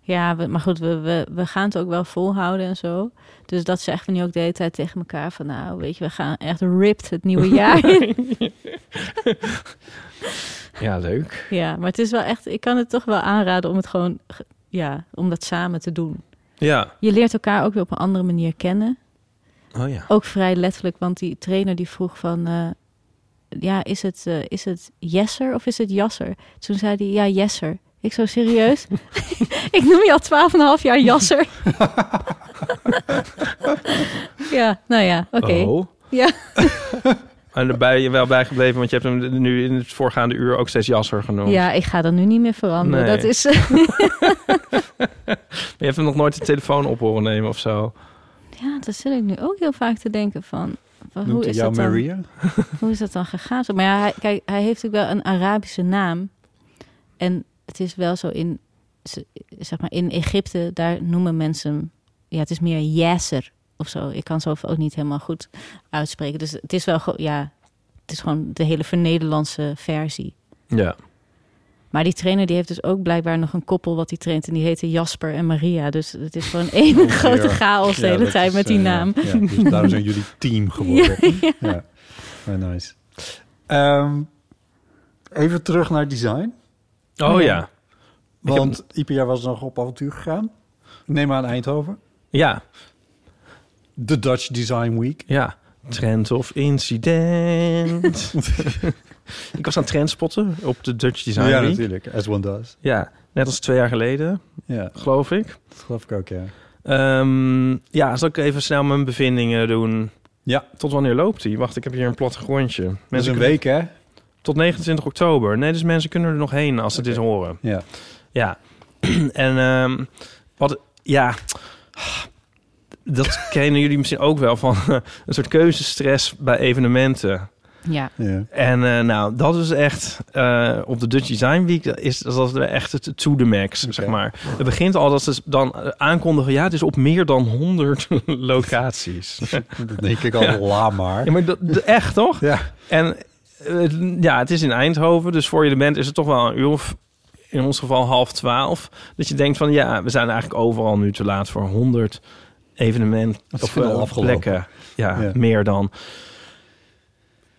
Ja, we- maar goed, we, we, we gaan het ook wel volhouden en zo. Dus dat zeggen we nu ook de hele tijd tegen elkaar. Van nou, weet je, we gaan echt ripped het nieuwe jaar in.
Ja, leuk.
Ja, maar het is wel echt. Ik kan het toch wel aanraden om het gewoon. ge- Ja, om dat samen te doen.
Ja,
Je leert elkaar ook weer op een andere manier kennen.
oh ja.
Ook vrij letterlijk, want die trainer die vroeg van. eh, ja, is het, eh, is het Jesser of is het Jasser? Toen zei hij, ja, Jesser. Ik zo, serieus? ik noem je al twaalf en half jaar Jasser. ja, nou ja, oké.
Oh.
Ja.
En daar ben je wel bijgebleven, want je hebt hem nu in het voorgaande uur ook steeds jasser genoemd.
Ja, ik ga dat nu niet meer veranderen.
Nee.
Dat is... eh,
Maar je hebt hem nog nooit de telefoon op horen nemen of zo.
ja, dat zit ik nu ook heel vaak te denken van... van
Noemt
hoe
hij
is
jou
dat dan?
Maria?
Hoe is dat dan gegaan? Zo, Maar ja, hij, kijk, hij heeft ook wel een Arabische naam. En het is wel zo in, ze- zeg maar, in Egypte, daar noemen mensen hem- ja, het is meer Yasser of zo. Ik kan zoveel ook niet helemaal goed uitspreken. Dus het is wel, gewoon- ja, het is gewoon de hele vernederlandse versie.
Ja.
Maar die trainer die heeft dus ook blijkbaar nog een koppel wat hij traint. En die heten Jasper en Maria. Dus het is gewoon één grote chaos de hele tijd
eh,
met die naam.
dus daarom zijn jullie team geworden. Ja, Maar nice. Ehm, even terug naar design.
Oh ja.
Want IPR was nog op avontuur gegaan. Neem aan Eindhoven.
Ja.
De Dutch Design Week.
Ja. Trend of incident. ik was aan het trendspotten op de Dutch Design
ja,
Week.
natuurlijk. As one does.
Ja, net als twee jaar geleden,
Ja,
geloof ik.
dat geloof ik ook, ja.
Ehm, ja, zal ik even snel mijn bevindingen doen?
Ja.
Tot wanneer loopt die? Wacht, ik heb hier een plattegrondje. Mensen
Dat is een
kunnen-
week, hè?
Tot 29 oktober. Nee, dus mensen kunnen er nog heen als ze dit horen.
Ja.
Ja. en ehm, wat... Ja. Dat kennen jullie misschien ook wel van een soort keuzestress bij evenementen.
Ja.
ja.
En eh, nou, dat is echt eh, op de Dutch Design Week dat is dat we echt het to the max, zeg maar. Het begint al dat ze dan eh, aankondigen, ja, het is op meer dan 100 locaties.
Dat denk ik al, la maar.
ja, maar dat, dat- echt toch?
Ja.
En eh, het- ja, het is in Eindhoven, dus voor je er bent is het toch wel een uur of in ons geval half twaalf. Dat je denkt van ja, we zijn eigenlijk overal nu te laat voor 100 evenementen
Dat is
of
veel
eh,
afgelopen.
plekken. Ja,
Ja.
meer dan.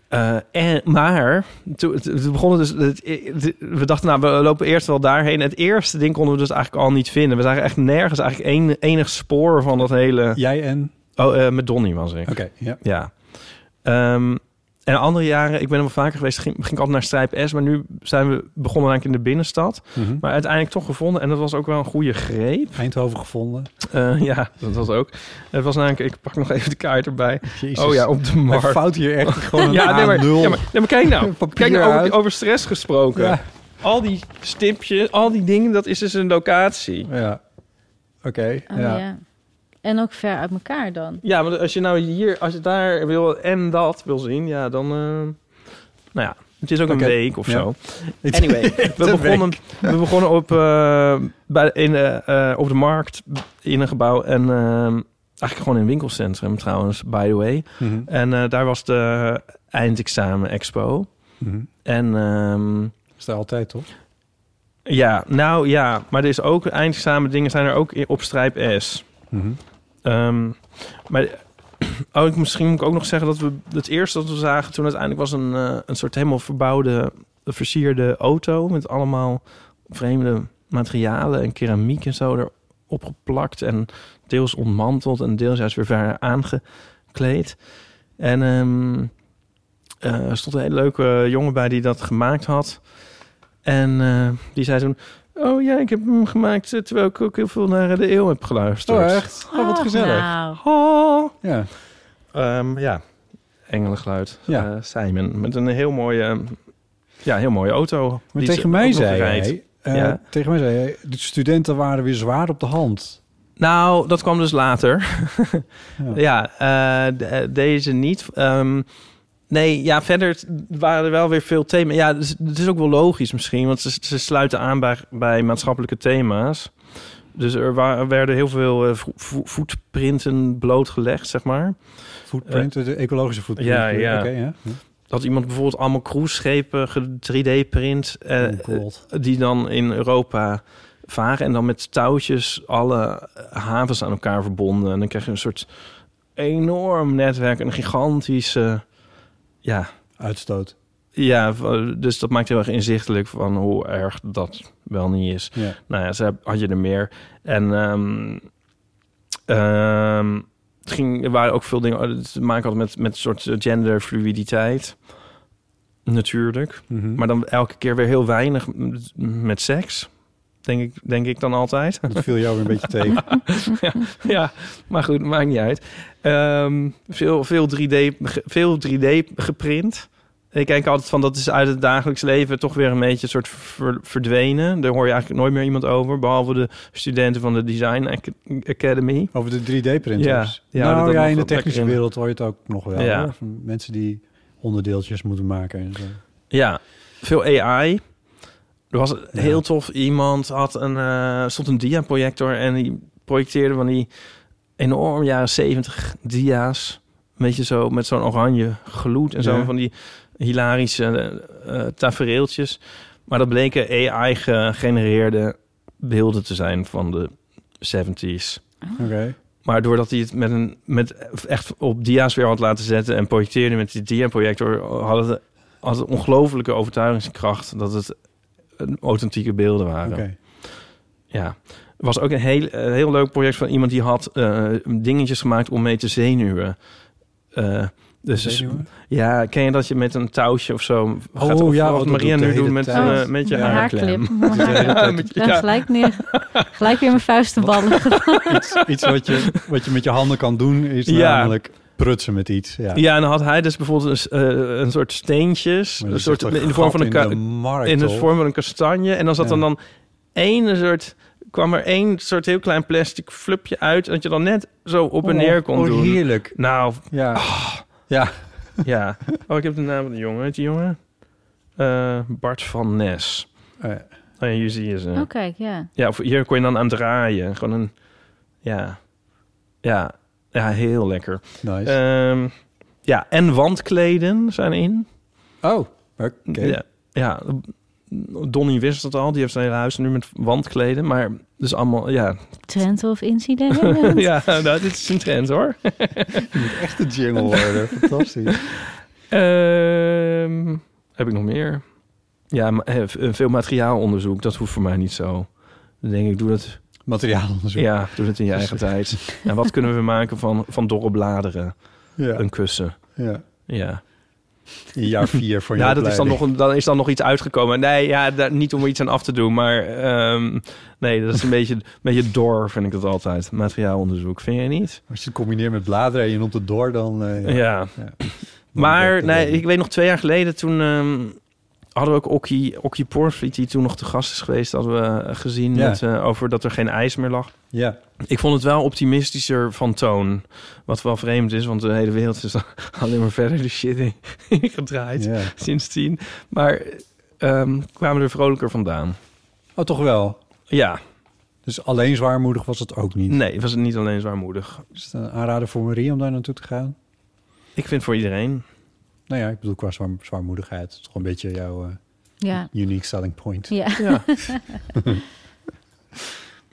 Eh, en, maar toen het- het begon dus, het- het- we dachten nou, we lopen eerst wel daarheen. Het eerste ding konden we dus eigenlijk al niet vinden. We zagen echt nergens eigenlijk een, enig spoor van dat hele...
Jij en...
Oh, eh, met Donnie was ik.
Oké, ja.
Ja. Ehm, en andere jaren, ik ben er wel vaker geweest, ging, ging ik altijd naar Strijp S. Maar nu zijn we begonnen eigenlijk in de binnenstad.
Mhm.
Maar uiteindelijk toch gevonden. En dat was ook wel een goede greep.
Eindhoven gevonden.
Eh, ja, dat was ook. Het was namelijk, ik pak nog even de kaart erbij.
Jezus.
Oh ja, op de
Hij
markt.
fout hier echt gewoon een
Ja, nee, maar,
nul.
ja, maar, nee, maar kijk nou.
Papier
Kijk nou,
uit.
over, over stress gesproken.
Ja.
Al die stipjes, al die dingen, dat is dus een locatie.
Ja. Oké,
Oh,
ja.
ja. En ook ver uit elkaar dan.
Ja, maar als je nou hier, als je daar wil en dat wil zien, ja, dan. eh, nou ja, het is ook
Oké.
een week of
Ja.
zo. Anyway, we begonnen, we begonnen op, eh, bij, in, eh, eh, op de markt in een gebouw en eh, eigenlijk gewoon in een winkelcentrum trouwens, by the way.
Mhm.
En eh, daar was de eindexamen expo.
Mhm.
En ehm,
Is daar altijd, toch?
ja, nou ja, maar er is ook eindexamen dingen zijn er ook i- op strijp S.
Mhm.
Ehm, maar oh, ik, misschien moet ik ook nog zeggen dat we het eerste dat we zagen toen uiteindelijk was een, eh, een soort helemaal verbouwde, versierde auto met allemaal vreemde materialen en keramiek en zo erop geplakt en deels ontmanteld en deels juist weer verder aangekleed. En ehm, eh, er stond een hele leuke jongen bij die dat gemaakt had. En eh, die zei toen, oh ja, ik heb hem gemaakt eh, terwijl ik ook heel veel naar eh, de eeuw heb geluisterd.
Oh, echt? Oh, wat
Ach,
gezellig.
nou.
Oh.
Ja.
ja, engelengeluid.
Ehm, Ja.
Ja. Simon, met een heel mooie, ehm, ja, heel mooie auto.
Maar
Die
tegen
ze
mij,
ook nog
zei
rijdt.
hij, eh,
Ja.
tegen mij zei hij... De studenten waren weer zwaar op de hand.
Nou, dat kwam dus later. ja, eh, de- eh, deze niet. Ehm, nee, ja, verder t- waren er wel weer veel thema's. Ja, het is, het is ook wel logisch misschien, want ze, ze sluiten aan bij, bij maatschappelijke thema's. Dus er wa- werden heel veel eh, vo- vo- voetprinten blootgelegd, zeg maar.
Footprint, de ecologische footprint.
Eh, ja, ja.
Oké, ja.
Dat iemand bijvoorbeeld allemaal cruiseschepen ge- 3D-print... eh,
Oh, God.
die dan in Europa varen en dan met touwtjes alle havens aan elkaar verbonden. En dan krijg je een soort enorm netwerk, een gigantische... Ja,
Uitstoot.
ja, v- dus dat maakt heel erg inzichtelijk van hoe erg dat wel niet is.
Ja.
Nou ja, ze heb- had je er meer. En ehm, ehm, het ging, er waren ook veel dingen oh, te maken had met, met een soort eh, genderfluiditeit. Natuurlijk.
Mhm.
Maar dan elke keer weer heel weinig m- met seks. Denk ik, denk ik dan altijd.
Dat viel jou weer een beetje tegen.
ja, maar goed, maakt niet uit. Ehm, veel, veel, 3D, ge- veel 3D geprint. Ik kijk altijd van dat is uit het dagelijks leven toch weer een beetje een soort ver- verdwenen. Daar hoor je eigenlijk nooit meer iemand over, behalve de studenten van de Design Ac- Academy.
Over de 3D-printers.
Ja, ja, dat-
nou
dat
ja, in
moet
de
wel
technische
lekker in.
wereld hoor je het ook nog wel.
Ja.
hoor. Van Mensen die onderdeeltjes moeten maken en zo.
Ah.
Ja, veel AI. Er was een heel tof iemand, had een, eh, stond een diaprojector en die projecteerde van die enorm jaren 70 dia's. Een beetje zo met zo'n oranje gloed en zo
Ja.
van die hilarische eh, eh, tafereeltjes. Maar dat bleken AI-gegenereerde beelden te zijn van de 70s.
Oké.
Maar doordat hij het met een, met echt op dia's weer had laten zetten en projecteerde met die diaprojector, hadden de had een ongelofelijke overtuigingskracht dat het eh, authentieke beelden waren.
Oké.
Ja. Was ook een heel, een heel leuk project van iemand die had eh, dingetjes gemaakt om mee te zenuwen. Eh, dus
Zenuwen?
ja, ken je dat je met een touwtje of zo gaat
Oh,
of,
ja,
wat
oh, dat
Maria
doet de
nu
hele
doet met,
tijd.
eh,
Oh,
met je
mijn
haarklem.
Mijn haarklip.
met je-
Ik ben gelijk, neer, gelijk weer mijn vuisten ballen.
Iets, iets wat, je, wat je met je handen kan doen is
Ja.
namelijk prutsen met iets. Ja.
Ja, en dan had hij dus bijvoorbeeld een, s- eh, een soort steentjes,
Maar
een
dat
soort,
is echt
in de vorm van een
gat
ka-
in de markt,
in de
hoor.
vorm van een kastanje. En dan zat
Ja.
er dan één soort, kwam er één soort heel klein plastic flupje uit, dat je dan net zo op
Oh,
en neer kon
oh,
doen.
heerlijk.
Nou,
Ja. ja.
ja. Oh, ik heb de naam van de jongen. Heet die jongen? Eh, Bart van Nes.
Eh,
Oh, ja, hier zie je ze.
Oh, kijk, ja.
Ja, of hier kon je dan aan draaien. Gewoon een, ja, ja, ja, heel lekker.
nice.
Ehm, ja, en wandkleden zijn in.
oh, oké.
Eh. Ja, ja, Donnie wist het al. Die heeft zijn hele huis nu met wandkleden. Maar dus allemaal, ja.
Trend of incident.
ja, nou, dit is een trend hoor.
Echt een jingle worden. Fantastisch.
Ehm, heb ik nog meer? Ja, ma- eh, v- eh, veel materiaalonderzoek. Dat hoeft voor mij niet zo. Dan denk ik, doe dat,
Materiaalonderzoek.
ja, doe dat in je eigen tijd. En wat kunnen we maken van, van dorre bladeren?
Ja.
Een kussen.
ja.
Ja,
In jaar vier voor je
ja dat is dan, nog,
opleiding.
een- dan is dan nog iets uitgekomen. Nee, ja, daar, niet om er iets aan af te doen, maar ehm, nee, dat is een beetje, een beetje dor, vind ik dat altijd. Materiaalonderzoek, vind jij niet?
Als je het combineert met bladeren en je noemt het door, dan... eh,
Ja.
ja.
Maar
werkt het
nee,
wel.
ik weet nog twee jaar geleden toen ehm, hadden we ook Okkie, Okkie Poortvliet, die toen nog te gast is geweest, hadden we eh, gezien
Ja.
met, eh, over dat er geen ijs meer lag.
ja.
Ik vond het wel optimistischer van toon. Wat wel vreemd is, want de hele wereld is alleen maar verder de shit in, gedraaid
Ja.
sindsdien. Maar ehm, kwamen er vrolijker vandaan.
Oh, toch wel.
Ja,
Dus alleen zwaarmoedig was het ook niet.
nee, was het niet alleen zwaarmoedig.
Is het een aanrader voor Marie om daar naartoe te gaan?
Ik vind voor iedereen.
Nou ja, ik bedoel qua zwaar, zwaarmoedigheid. Het is toch een beetje jouw eh,
Ja.
unique selling point.
ja.
Ja,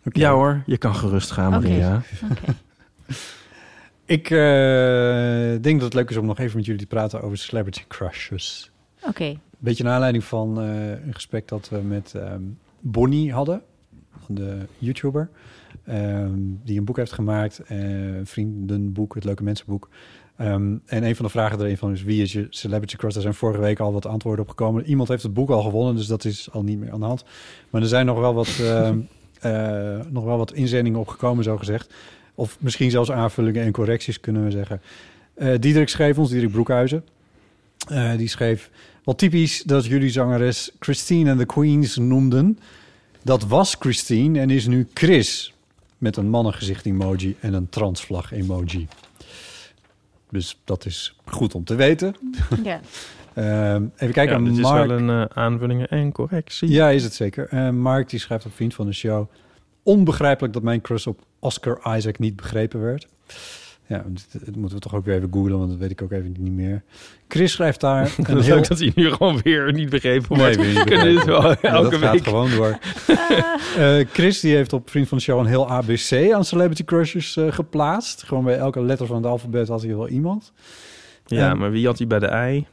Oké.
ja hoor, je kan gerust gaan,
Oké.
Maria.
Ik eh, denk dat het leuk is om nog even met jullie te praten over celebrity crushes.
Oké.
Beetje naar aanleiding van eh, een gesprek dat we met ehm, Bonnie hadden, de YouTuber, ehm, die een boek heeft gemaakt, eh, een vriendenboek, het Leuke Mensenboek. Ehm, en een van de vragen erin van is wie is je celebrity crush? Daar zijn vorige week al wat antwoorden op gekomen. Iemand heeft het boek al gewonnen, dus dat is al niet meer aan de hand. Maar er zijn nog wel wat, ehm, eh, nog wel wat inzendingen opgekomen, zo gezegd. Of misschien zelfs aanvullingen en correcties kunnen we zeggen. Eh Diederik schreef ons, Diederik Broekhuizen. Eh, die schreef, wel typisch dat jullie zangeres Christine en de Queens noemden. Dat was Christine en is nu Chris. Met een mannengezicht emoji en een transvlag emoji. Dus dat is goed om te weten.
Ja.
Ehm, even kijken,
dit
Mark.
is wel een eh, aanvulling en correctie.
Ja, is het zeker. Eh, Mark die schrijft op Vriend van de Show... Onbegrijpelijk dat mijn crush op Oscar Isaac niet begrepen werd. Ja, dit, dit moeten we toch ook weer even googlen, want dat weet ik ook even niet meer. Chris schrijft daar
Het
een
is
heel...
leuk dat hij nu gewoon weer niet begrepen
Nee,
wordt.
weer niet
We kunnen dit
begrepen.
wel
Ja,
elke
dat gaat
week.
gewoon door. Eh, Chris die heeft op Vriend van de Show een heel ABC aan celebrity crushes eh, geplaatst. Gewoon bij elke letter van het alfabet had hij wel iemand.
Ja,
Ehm,
maar wie had hij bij de ei?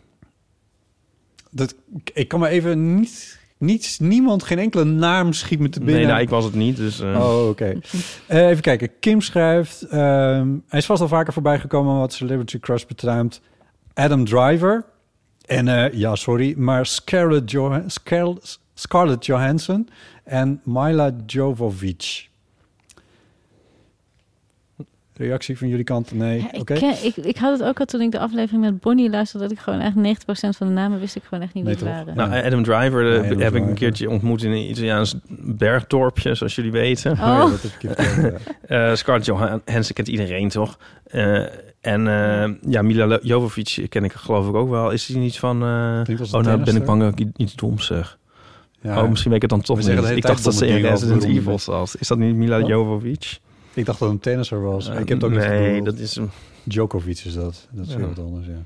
Dat, ik kan me even niet, niets, niemand, geen enkele naam schiet me te binnen.
Nee, nou, ik was het niet, dus... eh,
Oh, oké. Eh, even kijken. Kim schrijft... ehm, hij is vast al vaker voorbij gekomen wat Celebrity Crush betraamt. Adam Driver. En eh, ja, sorry, maar Scarlett, Joh- Scarl- Scarlett Johansson en Mila Jovovich. Reactie van jullie kant? Nee,
Ja,
oké.
ik, ken- ik, ik had het ook al toen ik de aflevering met Bonnie luisterde... dat ik gewoon echt 90% van de namen wist ik gewoon echt niet
Nee,
wat
toch?
waren.
Nou, Adam Driver eh,
Nee, Adam
heb ik
Driver.
een keertje ontmoet in een Italiaans bergdorpje, zoals jullie weten.
Oh.
ja, dat heb ik je verteld, ja.
Eh Scarlett Johansson kent iedereen, toch? Eh, en eh, ja, Mila Lo- Jovovich ken ik geloof ik ook wel. Is die niet van... eh,
Klinkt als een
oh, nou ben ik
tennisster.
bang dat ik i- iets doms zeg.
Ja,
Oh, misschien weet ik het dan
We
toch
zeggen
niet.
de hele
Ik
tijd
dacht dat ze
domme
in
dingen over
Resident
beroemden.
Evil zat. Is dat niet Mila
Wat?
Jovovich?
Ik dacht dat het een tennisser was. ik heb het ook
Eh, nee,
niet
dat is een...
Djokovic is dat. Dat is
Ja.
heel wat anders, ja.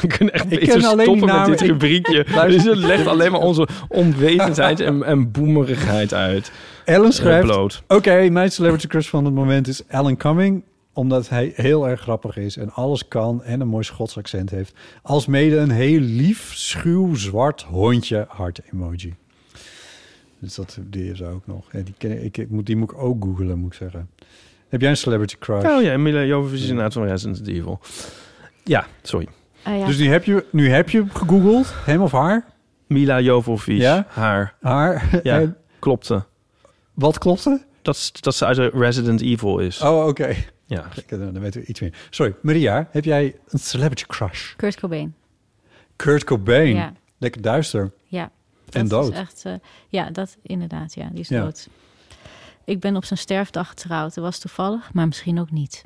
We kunnen echt
Ik
beter
ken alleen die
stoppen met
namen.
dit rubriekje. Dus het legt alleen maar onze onwetendheid en, en boemerigheid uit. Eh,
Ellen schrijft...
Bloot.
Oké, mijn celebrity crush van het moment is Alan Cumming. omdat hij heel erg grappig is en alles kan en een mooi Schots accent heeft. Als mede een heel lief, schuw, zwart hondje hart emoji. Dus dat, die is er ook nog. Ja, die, ken ik, ik, moet, die moet ik ook googlen, moet ik zeggen. Heb jij een celebrity crush?
Oh ja, Mila Jovovich is inderdaad van Resident Evil. Ja, sorry.
Ah ja.
Dus die heb je, nu heb je gegoogeld, hem of haar?
Mila Jovovich,
Ja?
haar.
Haar.
Ja,
En
klopte.
wat klopte?
Dat, is- dat ze uit de Resident Evil is.
Oh, oké.
Ja.
Kijk, Dan dan weten we iets meer. Sorry, Maria, heb jij een celebrity crush?
Kurt Cobain.
Kurt Cobain.
Ja.
Lekker duister.
Ja.
En
dat
dood.
Is echt, eh, ja, dat inderdaad. Ja, die is
Ja.
dood. Ik ben op zijn sterfdag getrouwd. Dat was toevallig, maar misschien ook niet.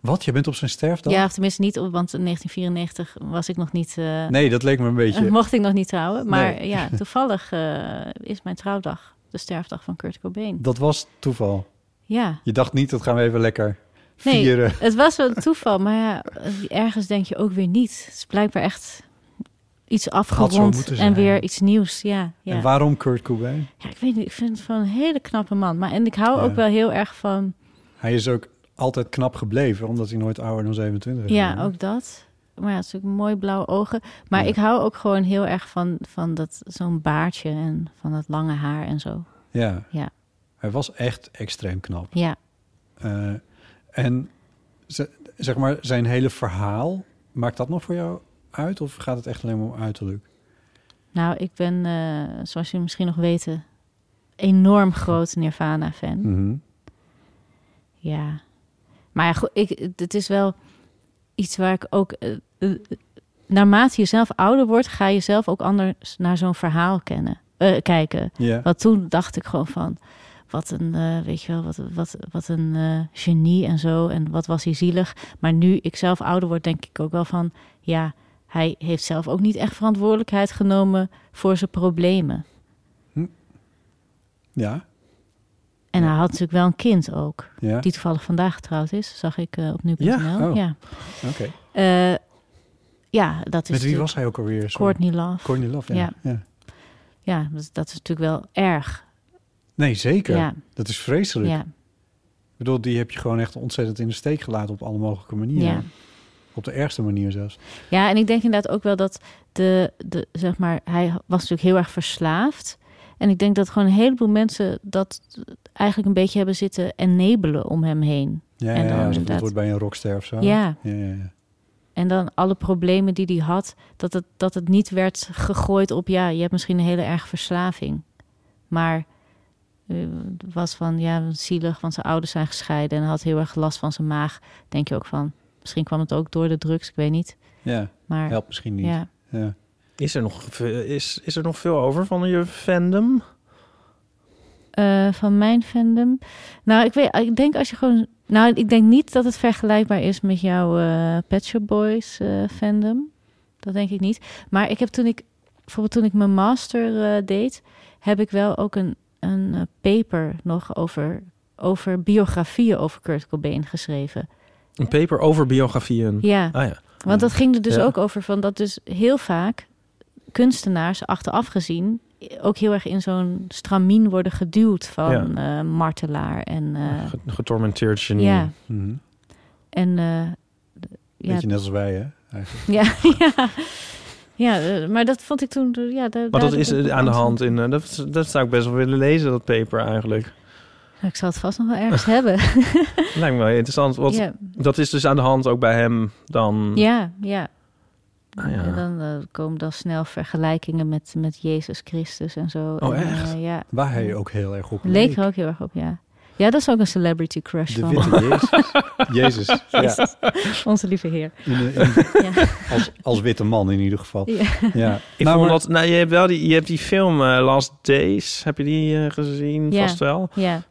Wat, je bent op zijn sterfdag?
Ja, of tenminste niet, op, want in 1994 was ik nog niet... eh,
Nee, dat leek me een beetje...
mocht ik nog niet trouwen. Maar
Nee.
ja, toevallig eh, is mijn trouwdag de sterfdag van Kurt Cobain.
Dat was toeval.
Ja.
Je dacht niet, dat gaan we even lekker
Nee,
vieren.
het was wel een toeval, maar ja, ergens denk je ook weer niet. Het is blijkbaar echt iets afgerond
moeten
en
zijn.
weer iets nieuws. Ja, ja.
En waarom Kurt Cobain?
ja, ik weet niet, ik vind het van een hele knappe man. Maar en ik hou
Ja.
ook wel heel erg van,
Hij is ook altijd knap gebleven, omdat hij nooit ouder dan 27 is.
ja,
geworden.
ook dat. Maar ja, het is ook mooi blauwe ogen. Maar ik hou ook gewoon heel erg van, van dat zo'n baardje en van dat lange haar en zo.
Ja,
Ja,
hij was echt extreem knap.
ja.
Eh, en ze- zeg maar, zijn hele verhaal, maakt dat nog voor jou uit? Of gaat het echt alleen maar om uiterlijk?
Nou, ik ben, eh, zoals jullie misschien nog weten, enorm groot Nirvana-fan.
Hm. Mhm.
Ja. Maar ja, goed, ik, het is wel iets waar ik ook... eh, eh, naarmate je zelf ouder wordt, ga je zelf ook anders naar zo'n verhaal kennen, eh, kijken.
Ja.
Want toen dacht ik gewoon van... Wat een, eh, weet je wel, wat, wat, wat een eh, genie en zo. En wat was hij zielig. Maar nu ik zelf ouder word, denk ik ook wel van... Ja, hij heeft zelf ook niet echt verantwoordelijkheid genomen voor zijn problemen.
Ja,
En hij had natuurlijk wel een kind ook.
Ja.
Die toevallig vandaag getrouwd is, zag ik eh, op nu.nl.
Ja? Oh.
ja.
oké.
Eh, ja, dat is
Met wie
natuurlijk
was hij ook alweer? Sorry.
Courtney Love.
Courtney Love, ja.
Ja.
ja.
Ja, dat, dat is natuurlijk wel erg.
Nee, zeker.
Ja.
Dat is vreselijk.
Ja,
Ik bedoel, die heb je gewoon echt ontzettend in de steek gelaten op alle mogelijke manieren.
ja.
Op de ergste manier zelfs.
ja, en ik denk inderdaad ook wel dat de, de, zeg maar, hij was natuurlijk heel erg verslaafd. En ik denk dat gewoon een heleboel mensen dat eigenlijk een beetje hebben zitten enabelen om hem heen.
Ja,
En
ja,
dan
ja, dat
inderdaad.
wordt bij een rockster of zo.
Ja.
ja, ja, ja.
En dan alle problemen die hij had, dat het, dat het niet werd gegooid op, ja, je hebt misschien een hele erge verslaving. Maar eh, het was van, ja, zielig, want zijn ouders zijn gescheiden en hij had heel erg last van zijn maag. Denk je ook van, misschien kwam het ook door de drugs, ik weet niet.
Ja,
Maar
helpt misschien niet.
ja,
Ja.
Is er, nog, ve- is, is er nog veel over van je fandom?
Eh, van mijn fandom. Nou, ik weet, ik denk als je gewoon, nou, ik denk niet dat het vergelijkbaar is met jouw eh Pet Shop Boys eh, fandom. Dat denk ik niet. Maar ik heb toen ik, bijvoorbeeld toen ik mijn master eh, deed, heb ik wel ook een, een eh, paper nog over, over biografieën over Kurt Cobain geschreven.
Een paper over biografieën.
Ja,
Ah ja.
want dat ging er dus
Ja.
ook over van dat dus heel vaak kunstenaars achteraf gezien ook heel erg in zo'n stramien worden geduwd van eh, martelaar en eh,
Ge- Getormenteerd genie.
ja.
Mhm.
En eh, d- ja,
Beetje net als wij, hè? Eigenlijk.
ja, ja, ja, eh, maar dat vond ik toen. eh, Ja, daar-
Maar dat
daar-
is eh, aan de hand. In, eh, dat, dat zou ik best wel willen lezen, dat paper eigenlijk.
Ik zal het vast nog wel ergens hebben.
Lijkt me wel interessant. Want
ja,
dat is dus aan de hand ook bij hem dan.
ja, ja.
Ah, ja.
En dan eh, komen dan snel vergelijkingen met, met Jezus Christus en zo.
Oh,
en,
echt?
eh, ja,
Waar hij ook heel erg op
leek er ook heel erg op, ja. Ja, dat is ook een celebrity crush
De
van
witte Jezus. Jezus. Ja.
onze lieve heer.
In, in-
Ja.
als, als witte man in ieder geval.
Ja.
Ja.
Ik
Nou,
vond
maar-
dat, nou, je hebt wel die, je hebt die film eh, Last Days, heb je die eh, gezien?
Ja.
Vast wel.
Ja,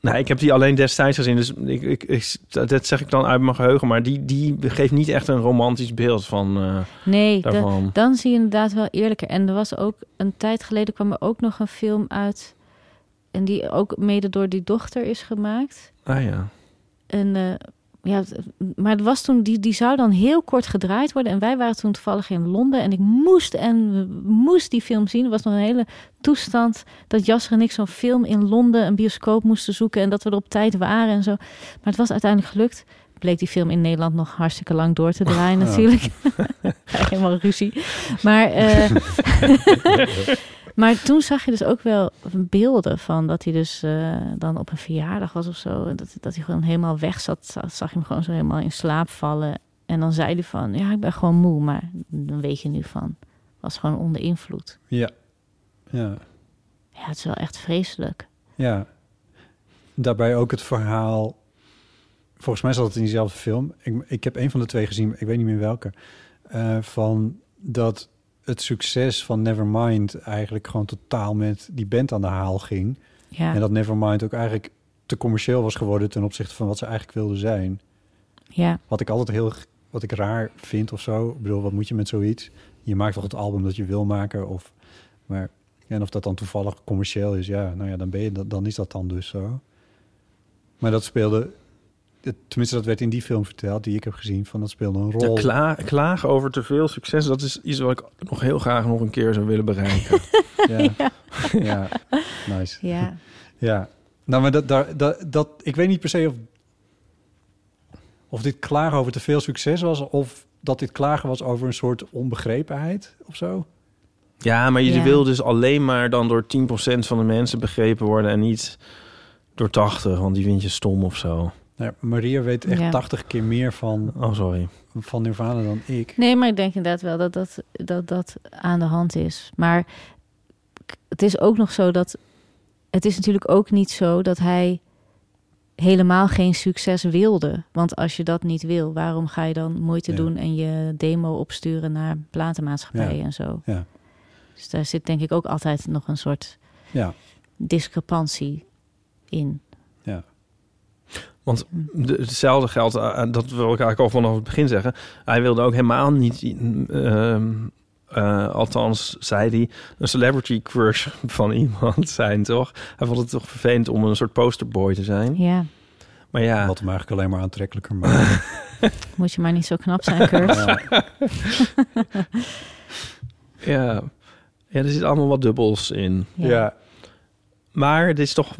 Nou, ik heb die alleen destijds gezien, dus ik, ik, ik- dat zeg ik dan uit mijn geheugen. Maar die, die geeft niet echt een romantisch beeld van eh,
nee, dat,
daarvan.
Dan zie je inderdaad wel eerlijker. En er was ook een tijd geleden kwam er ook nog een film uit. En die ook mede door die dochter is gemaakt.
Ah ja.
En eh, Ja, het- maar het was toen, die, die zou dan heel kort gedraaid worden. En wij waren toen toevallig in Londen. En ik moest en moest die film zien. Er was nog een hele toestand dat Jasser en ik zo'n film in Londen, een bioscoop moesten zoeken. En dat we er op tijd waren en zo. Maar het was uiteindelijk gelukt. Bleek die film in Nederland nog hartstikke lang door te draaien
Ja.
natuurlijk. Helemaal ruzie. Maar, eh, maar toen zag je dus ook wel beelden van dat hij dus eh, dan op een verjaardag was of zo. En dat, dat hij gewoon helemaal weg zat. Zag- Zag je hem gewoon zo helemaal in slaap vallen. En dan zei hij van, ja, ik ben gewoon moe. Maar dan weet je nu van, was gewoon onder invloed.
Ja. Ja.
Ja, het is wel echt vreselijk.
Ja. Daarbij ook het verhaal. Volgens mij zat het in diezelfde film. Ik, ik heb een van de twee gezien, maar ik weet niet meer welke. eh, van dat het succes van Nevermind eigenlijk gewoon totaal met die band aan de haal ging.
Ja.
En dat Nevermind ook eigenlijk te commercieel was geworden ten opzichte van wat ze eigenlijk wilden zijn.
Ja.
Wat ik altijd heel wat ik raar vind of zo. Ik bedoel, wat moet je met zoiets? Je maakt toch het album dat je wil maken of maar en of dat dan toevallig commercieel is, ja, nou ja, dan ben je dat- dan is dat dan dus zo. Maar dat speelde het- tenminste dat werd in die film verteld die ik heb gezien van dat speelde een
Ja,
rol.
kla- klagen over te veel succes, dat is iets wat ik nog heel graag nog een keer zou willen bereiken.
Ja. ja. Nice.
Ja.
Ja. Nou, maar dat, daar, dat, dat, ik weet niet per se of, of dit klagen over te veel succes was... of dat dit klagen was over een soort onbegrepenheid of zo.
Ja, maar je
Ja.
wil dus alleen maar dan door 10% van de mensen begrepen worden en niet door 80, want die vind je stom of zo.
Nou, ja, Maria weet echt
Ja.
80 keer meer van,
Oh, sorry.
van Nirvana dan ik.
Nee, maar ik denk inderdaad wel dat dat, dat, dat aan de hand is. Maar k- het is ook nog zo dat... Het is natuurlijk ook niet zo dat hij helemaal geen succes wilde. Want als je dat niet wil, waarom ga je dan moeite
Ja.
doen... en je demo opsturen naar platenmaatschappijen
Ja.
en zo?
Ja.
Dus daar zit denk ik ook altijd nog een soort
Ja,
discrepantie in.
ja.
Want de- hetzelfde geldt, eh, eh, dat wil ik eigenlijk al vanaf het begin zeggen. Hij wilde ook helemaal niet, ehm, eh, althans zei hij, een celebrity crush van iemand zijn, toch? Hij vond het toch vervelend om een soort posterboy te zijn.
Ja,
Maar ja,
Wat hem eigenlijk alleen maar aantrekkelijker maakt.
moet je maar niet zo knap zijn, Kurt.
Ja.
ja, ja, er zit allemaal wat dubbels in.
ja.
Maar het is toch,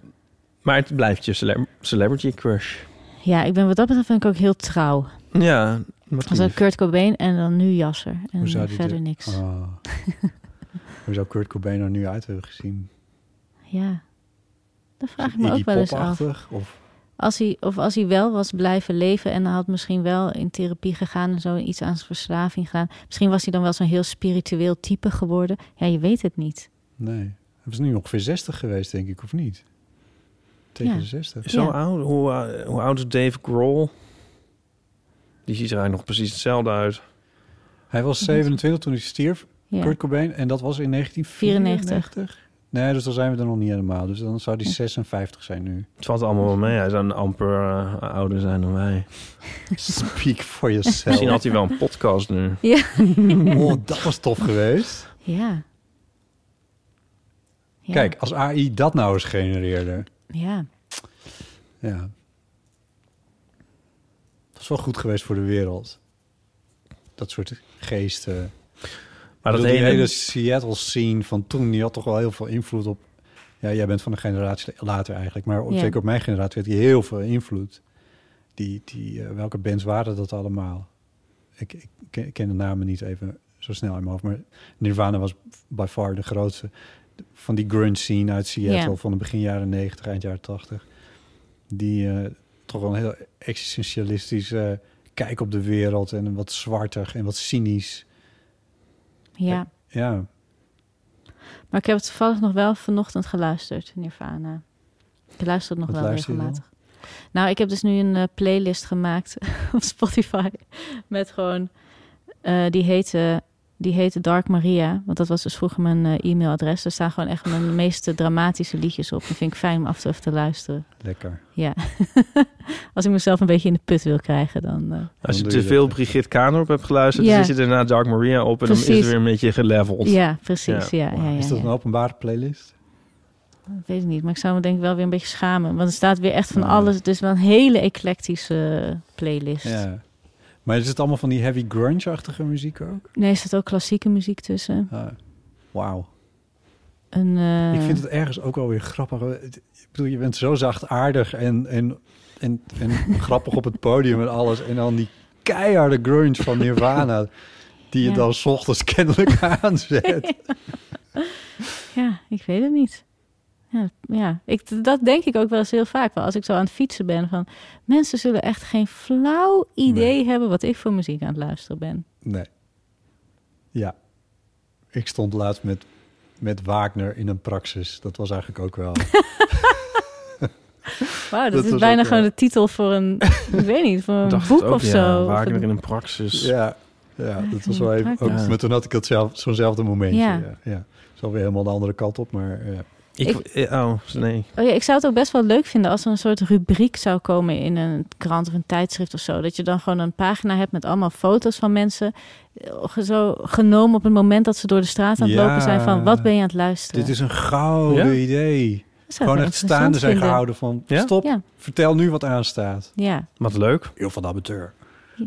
maar het blijft je cele- celebrity crush.
Ja, ik ben wat dat betreft vind ik ook heel trouw.
Ja, wat
Als dan
lief.
Kurt Cobain en dan nu Jasser. En
Hoe zou die
verder
dit-
niks.
Oh. Hoe zou Kurt Cobain er nu uit hebben gezien?
Ja. Dat vraag ik me
Iggy
ook Ah, wel eens af.
Pop-achtig? Of,
Als hij, of als hij wel was blijven leven en had misschien wel in therapie gegaan en zo iets aan zijn verslaving gedaan. Misschien was hij dan wel zo'n heel spiritueel type geworden. Ja, je weet het niet.
nee. Hij is nu ongeveer 60 geweest, denk ik, of niet? Tegen
Ja.
de 60.
Zo
Ja.
oud? Hoe, eh, hoe oud is Dave Grohl? Die ziet er eigenlijk nog precies hetzelfde uit.
Hij was 27 toen hij stierf,
Ja.
Kurt Cobain. En dat was in 1994? Nee, dus dan zijn we er nog niet helemaal. Dus dan zou hij 56 zijn nu.
Het valt allemaal wel mee. Hij zou een amper eh, ouder zijn dan wij.
Speak for
Misschien
yourself.
had hij wel een podcast nu.
oh, dat was tof geweest.
Ja. Ja.
Kijk, als AI dat nou eens genereerde.
Ja.
Ja. Dat is wel goed geweest voor de wereld. Dat soort geesten.
Maar dat
Ik bedoel,
hele...
die hele Seattle scene van toen, die had toch wel heel veel invloed op. Ja, jij bent van een generatie later eigenlijk, maar op,
Ja.
zeker op mijn generatie had die heel veel invloed. Die, die, eh, welke bands waren dat allemaal? Ik, ik, ken- ik ken de namen niet even zo snel in mijn hoofd, maar Nirvana was by far de grootste van die grunge scene uit Seattle
Ja.
van de begin jaren 90, eind jaren 80. Die eh, toch wel een heel existentialistische eh, kijk op de wereld en wat zwartig en wat cynisch.
ja.
Ja,
Maar ik heb het toevallig nog wel vanochtend geluisterd, Nirvana. Ik luister het nog
Wat
wel
luister je dan?
regelmatig. Nou, ik heb dus nu een eh, playlist gemaakt op Spotify. Met gewoon, eh, die, heette, die heette Dark Maria. Want dat was dus vroeger mijn eh, e-mailadres. Daar staan gewoon echt mijn meest dramatische liedjes op. Dat vind ik fijn om af en toe even te luisteren.
lekker.
Ja. Als ik mezelf een beetje in de put wil krijgen, dan... eh,
Als je
Dan doe je
te veel
dat.
Brigitte Kaandorp hebt geluisterd,
Ja.
dan zit je daarna Dark Maria op en dan is
Precies.
het weer een beetje geleveld.
ja, precies. Ja. Ja, ja,
Is dat
ja.
een openbare playlist?
Ik weet het niet, maar ik zou me denk ik wel weer een beetje schamen. Want er staat weer echt van alles. Het is wel een hele eclectische playlist.
Ja. Maar is het allemaal van die heavy grunge-achtige muziek ook?
Nee, er staat ook klassieke muziek tussen.
Ah, Wauw.
Een, eh,
Ik vind het ergens ook wel weer grappig. Eh, Het- Ik bedoel, je bent zo zachtaardig en, en, en, en grappig op het podium en alles. En dan die keiharde grunge van Nirvana, die je
Ja.
dan 's ochtends kennelijk aanzet.
Ja, ik weet het niet. Ja, ja. Ik, dat denk ik ook wel eens heel vaak wel. Als ik zo aan het fietsen ben van... Mensen zullen echt geen flauw idee hebben wat ik voor muziek aan het luisteren ben.
Nee. Ja. Ik stond laatst met, met Wagner in een praxis. Dat was eigenlijk ook wel...
Wauw, dat,
Dat
is
was
bijna
ook,
gewoon
ja.
de titel voor een... ik weet niet, voor een
Dacht het
boek
ook,
of
ja,
zo. Of
Wagner
een-
in een praxis.
Ja, ja dat was
in
wel
de
even... Ook,
praktijk.
Maar toen had ik dat zelf, zo'nzelfde momentje.
Ja.
Ja. Ja, Het is alweer helemaal de andere kant op, maar... Ja.
Ik, eh, oh, nee.
Oh ja, ik zou het ook best wel leuk vinden als er een soort rubriek zou komen in een krant of een tijdschrift of zo. Dat je dan gewoon een pagina hebt met allemaal foto's van mensen. eh, ge- Zo genomen op het moment dat ze door de straat aan het
Ja.
lopen zijn van wat ben je aan het luisteren?
Dit is een gouden
Ja?
idee.
Dat zou
Gewoon
ik
echt
wel interessant
staande zijn
vinden.
gehouden van...
Ja?
Stop,
Ja.
vertel nu wat aanstaat.
Ja,
Wat leuk.
Heel van de amateur.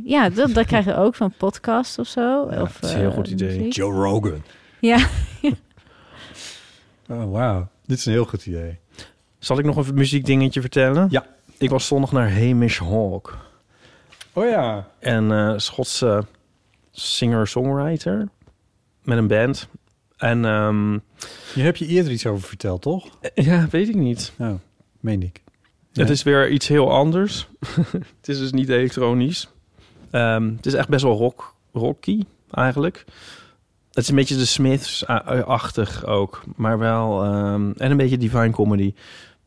ja dat, dat krijg je ook van podcast of zo.
Ja,
of,
dat is een heel
eh,
goed idee.
muziek.
Joe Rogan.
Ja,
Oh, wauw. Dit is een heel goed idee.
Zal ik nog een muziekdingetje vertellen?
Ja.
Ik was zondag naar Hamish Hawk.
Oh ja.
Een eh, Schotse singer-songwriter. Met een band. En ehm,
Je hebt je eerder iets over verteld, toch?
eh, ja, weet ik niet.
Nou, meen ik.
Het
Ja.
is weer iets heel anders. het is dus niet elektronisch. Ehm, het is echt best wel rock, rocky eigenlijk. Het is een beetje de Smiths-achtig ook. Maar wel... ehm, en een beetje divine comedy.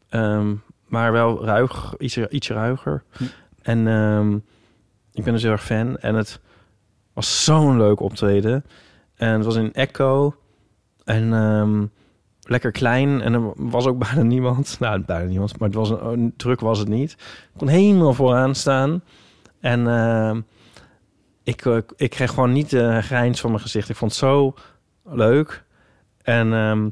Ehm, maar wel ruig, iets, iets ruiger. En ehm, ik ben dus heel erg fan. En het was zo'n leuk optreden. En het was in Echo. En ehm, lekker klein. En er was ook bijna niemand. Nou, bijna niemand. Maar het was een, een- druk was het niet. Ik kon helemaal vooraan staan. En ehm, ik, eh, ik kreeg gewoon niet de grijns van mijn gezicht. Ik vond het zo leuk. En... ehm,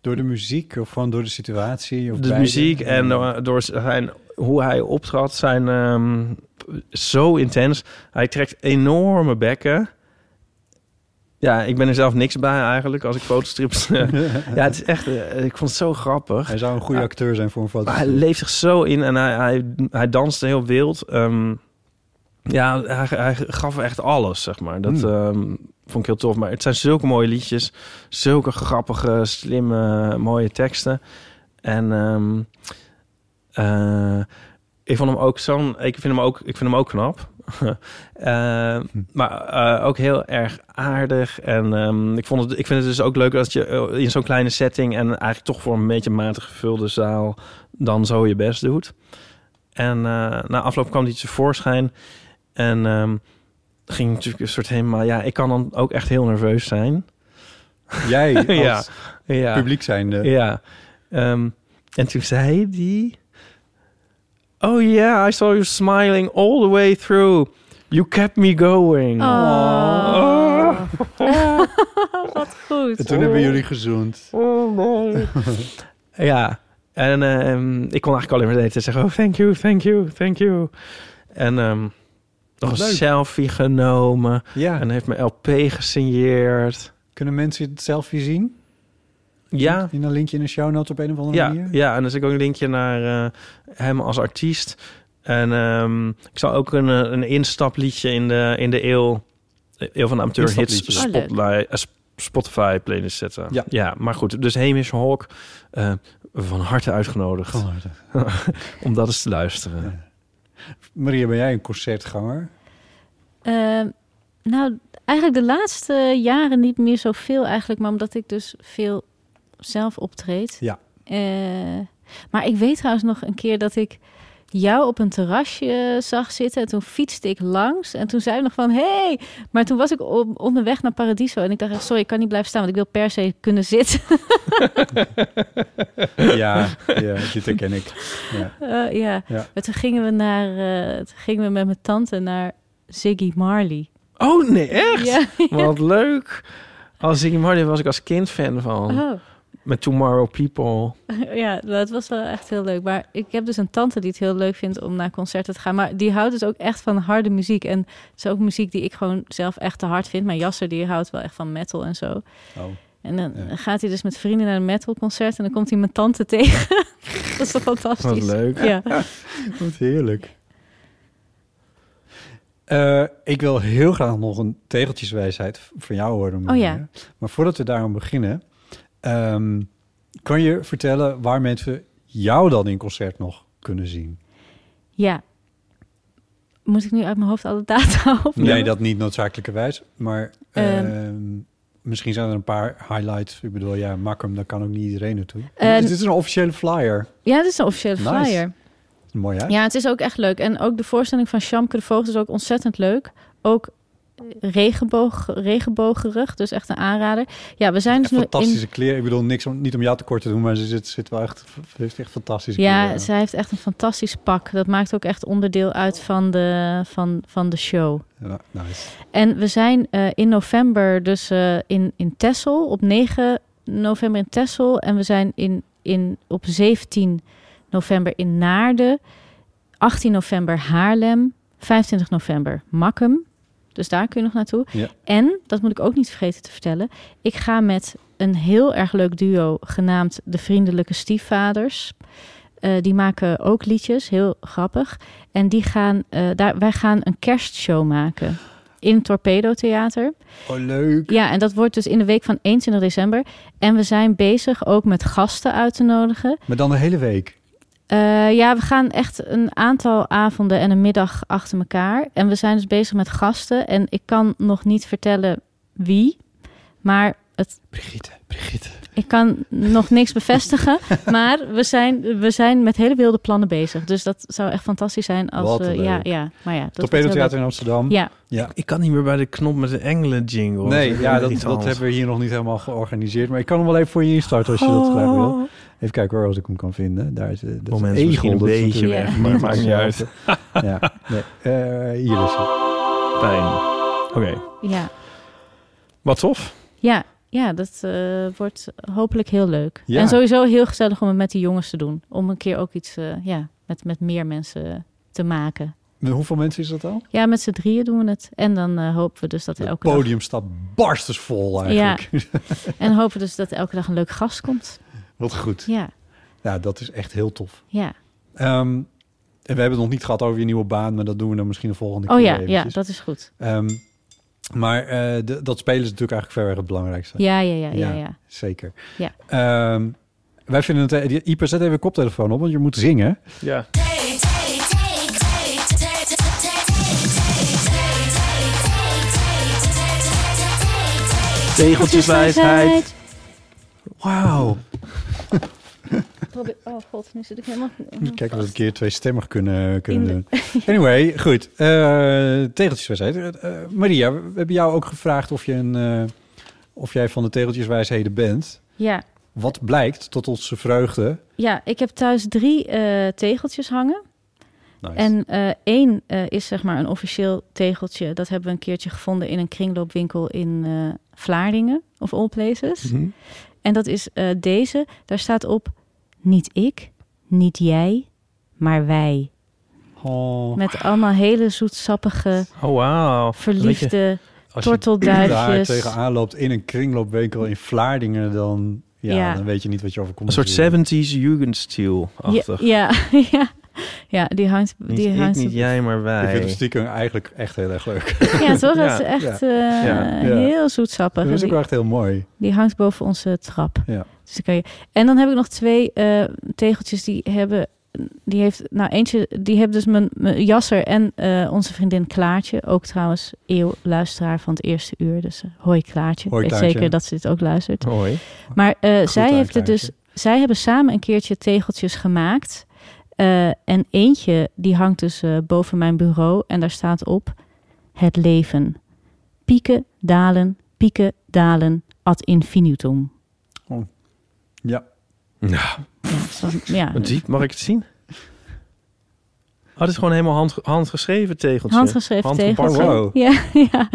Door de muziek of gewoon door de situatie? Of
de
beide?
muziek en door, door zijn, hoe hij optrad zijn ehm, zo intens. Hij trekt enorme bekken. Ja, ik ben er zelf niks bij eigenlijk als ik fotostrips... eh, ja, het is echt... eh, ik vond het zo grappig.
Hij zou een goede
Ja.
acteur zijn voor een foto.
Maar hij leeft zich zo in en hij, hij, hij danste heel wild. Ehm, ja, hij, hij gaf echt alles, zeg maar. Dat
Hmm.
ehm, vond ik heel tof. Maar het zijn zulke mooie liedjes. Zulke grappige, slimme, mooie teksten. En ehm, eh, ik vond hem ook zo'n... Ik vind hem ook, ik vind hem ook knap. Eh, maar eh, ook heel erg aardig. En ehm, ik, vond het, ik vind het dus ook leuk dat je eh, in zo'n kleine setting... en eigenlijk toch voor een beetje matig gevulde zaal... dan zo je best doet. En eh, na afloop kwam die tevoorschijn. En ehm, ging natuurlijk een soort helemaal... Ja, ik kan dan ook echt heel nerveus zijn.
Jij als
Ja. Ja.
publiek zijnde.
Ja. Ehm, en toen zei die... Oh yeah, I saw you smiling all the way through. You kept me going.
Oh.
En
wat goed.
toen hebben jullie gezoend.
Ja, en ehm, ik kon eigenlijk alleen maar de hele tijd zeggen... Oh, thank you, thank you, thank you. En ehm, nog een
leuk.
selfie genomen.
Ja.
En heeft mijn LP gesigneerd.
Kunnen mensen het selfie zien?
Ja,
In een linkje in een show notes op een of andere
ja,
manier?
ja. En er zit ook een linkje naar eh, hem als artiest. En ehm, ik zal ook een, eh, een instapliedje in de, in de eeuw, eeuw van de amateur hits
Instapliedje.
Oh, leuk.
spotlight, eh, Spotify playlist zetten.
Ja.
maar goed. Dus Hamish Hawk, eh, van harte uitgenodigd
Van harte.
om dat eens te luisteren.
Maria, ben jij een concertganger?
Ehm, nou, eigenlijk de laatste jaren niet meer zoveel eigenlijk. Maar omdat ik dus veel zelf optreed.
Ja.
Eh, maar ik weet trouwens nog een keer dat ik jou op een terrasje eh, zag zitten. En toen fietste ik langs. En toen zei ik nog van, Hey! Maar toen was ik op, onderweg naar Paradiso. En ik dacht, echt, sorry, ik kan niet blijven staan. Want ik wil per se kunnen zitten.
ja, ja, dit herken ik. Ja.
Eh, ja.
Ja.
Maar toen gingen we, naar, eh, toen gingen we met mijn tante naar Ziggy Marley.
Oh nee, echt?
Ja.
Wat leuk. Als Ziggy Marley was ik als kind fan van.
Oh.
Met Tomorrow People.
ja, dat was wel echt heel leuk. Maar ik heb dus een tante die het heel leuk vindt om naar concerten te gaan. Maar die houdt dus ook echt van harde muziek. En het is ook muziek die ik gewoon zelf echt te hard vind. Mijn jasser die houdt wel echt van metal en zo.
Oh.
En dan gaat hij dus met vrienden naar een metalconcert. En dan komt hij mijn tante tegen. dat is toch fantastisch?
Wat leuk.
Ja.
Wat heerlijk. Eh, ik wil heel graag nog een tegeltjeswijsheid v- van jou horen.
Oh ja.
Marina. Maar voordat we daarom beginnen, ehm, kan je vertellen waar mensen jou dan in concert nog kunnen zien?
ja. Moet ik nu uit mijn hoofd alle data opnemen?
Nee, dat niet noodzakelijkerwijs, maar
Ehm.
ehm, misschien zijn er een paar highlights. Ik bedoel, ja, Makkum, daar kan ook niet iedereen naartoe.
Eh,
dit is een officiële flyer.
Ja, dit is een officiële
Nice.
flyer.
Mooi, hè?
Ja, het is ook echt leuk. En ook de voorstelling van Shamke de Voogd is ook ontzettend leuk. Ook eh, regenboog, regenbogerig, dus echt een aanrader. Ja, we zijn dus nu
Fantastische
in...
kleren. Ik bedoel, niks om, niet om jou tekort te doen, maar ze zit, zit wel echt, ze heeft echt fantastische kleren.
Ja, zij heeft echt een fantastisch pak. Dat maakt ook echt onderdeel uit van de, van, van de show.
Ja, nice.
En we zijn eh, in november dus eh, in, in Texel, op 9 november in Texel. En we zijn in, in, op 17 november in Naarden, 18 november Haarlem, 25 november Makkum. Dus daar kun je nog naartoe.
Ja.
En, dat moet ik ook niet vergeten te vertellen, ik ga met een heel erg leuk duo genaamd De Vriendelijke Stiefvaders. Eh, die maken ook liedjes, heel grappig. En die gaan, eh, daar, wij gaan een kerstshow maken in het Torpedo Theater.
Oh, leuk.
Ja, en dat wordt dus in de week van 21 december. En we zijn bezig ook met gasten uit te nodigen.
Maar dan de hele week.
Eh, ja, we gaan echt een aantal avonden en een middag achter elkaar. En we zijn dus bezig met gasten. En ik kan nog niet vertellen wie. Maar het,
Brigitte, Brigitte.
ik kan nog niks bevestigen. Maar we zijn, we zijn met hele wilde plannen bezig. Dus dat zou echt fantastisch zijn als
Wat
we. Ja,
leuk.
ja, maar ja. dat wordt
Torpedo
heel
Theater
leuk.
in Amsterdam.
Ja,
Ik kan niet meer bij de knop met de engelen jingle.
Nee, ja, dat, dat
we.
hebben we hier nog niet helemaal georganiseerd. Maar ik kan hem wel even voor je instarten als je dat graag
Oh.
wil. Even kijken hoor, als ik hem kan vinden. Daar is, eh, dat
Moment
is
is misschien een
dat is
beetje
natuurlijk-
weg,
Ja.
maar het maakt niet uit.
hetzelfde. Ja, nee. Eh, hier is hij.
Pijn. Oké,
ja.
wat tof.
Ja, ja dat eh, wordt hopelijk heel leuk.
Ja.
En sowieso heel gezellig om het met die jongens te doen. Om een keer ook iets eh, ja, met, met meer mensen te maken.
Maar Hoeveel mensen is dat al?
Ja, met z'n drieën doen we het. En dan eh, hopen we dus dat er
Het
elke dag...
podium staat barstensvol eigenlijk.
En hopen we dus dat er elke dag een leuk gast komt.
Wat goed.
Ja,
Ja, dat is echt heel tof.
ja.
Ehm, en we hebben het nog niet gehad over je nieuwe baan, maar dat doen we dan misschien de volgende
Oh
keer
ja, ja,
eventjes.
dat is goed.
Ehm, maar eh, de- dat spelen is natuurlijk eigenlijk verreweg het belangrijkste.
Ja, ja, ja, ja, ja.
Zeker.
Ja.
Ehm, wij vinden het... eh, die- Ieper, zet even je koptelefoon op, want je moet zingen.
Ja. Tegeltjeswijsheid.
Wauw.
Probeer- Oh god, nu zit ik helemaal...
Moet kijken of we een keer twee stemmen kunnen, kunnen
In
doen. Anyway, goed. Eh tegeltjeswijsheid. Eh, eh, Maria, we we hebben jou ook gevraagd of, je een, eh, of jij van de tegeltjeswijsheden bent.
Ja,
Wat blijkt tot onze vreugde...
ja, ik heb thuis drie eh, tegeltjes hangen.
Nice.
En eh één eh, is zeg maar een officieel tegeltje. Dat hebben we een keertje gevonden in een kringloopwinkel in eh, Vlaardingen of All Places.
Mhm.
En dat is eh, deze. Daar staat op: Niet ik, niet jij, maar wij.
Oh.
Met allemaal hele zoetsappige,
Oh, wauw. Weet
verliefde
Als je daar
tortelduifjes.
tegenaan loopt in een kringloopwinkel in Vlaardingen, dan, ja,
Ja.
dan weet je niet wat je overkomt.
Een soort
natuurlijk.
70s Jugendstil-achtig.
Ja, ja, ja. Ja, die hangt.
Niet
die
ik,
hangt
niet jij, maar
Ik vind het
wij.
stiekem eigenlijk echt heel erg leuk.
Ja, toch?
Ja,
dat is echt eh,
ja,
ja. Dus
heel zoetsappig.
Dat is
En
ook
die-
wel echt heel mooi.
Die hangt boven onze trap.
Ja.
Dus dan kan je... En dan heb ik nog twee eh, tegeltjes die hebben. Die heeft, nou eentje, die heeft dus mijn, mijn jasser en eh, onze vriendin Klaartje. Ook trouwens eeuw luisteraar van het eerste uur. Dus eh, hoi Klaartje.
Hoi,
Ik weet
Klaartje.
zeker dat ze dit ook luistert.
Hoi.
Maar eh, zij
aan
heeft het dus. Zij hebben samen een keertje tegeltjes gemaakt. Eh, en eentje die hangt dus eh, boven mijn bureau. En daar staat op het leven. Pieken, dalen, pieken, dalen ad infinitum.
Ja.
Ja, dat is wel- ja.
Wat diep, mag ik het zien? Oh, dit is gewoon helemaal hand, handgeschreven tegeltje.
Handgeschreven tegeltje.
Handgeplakt.
Ja, ja.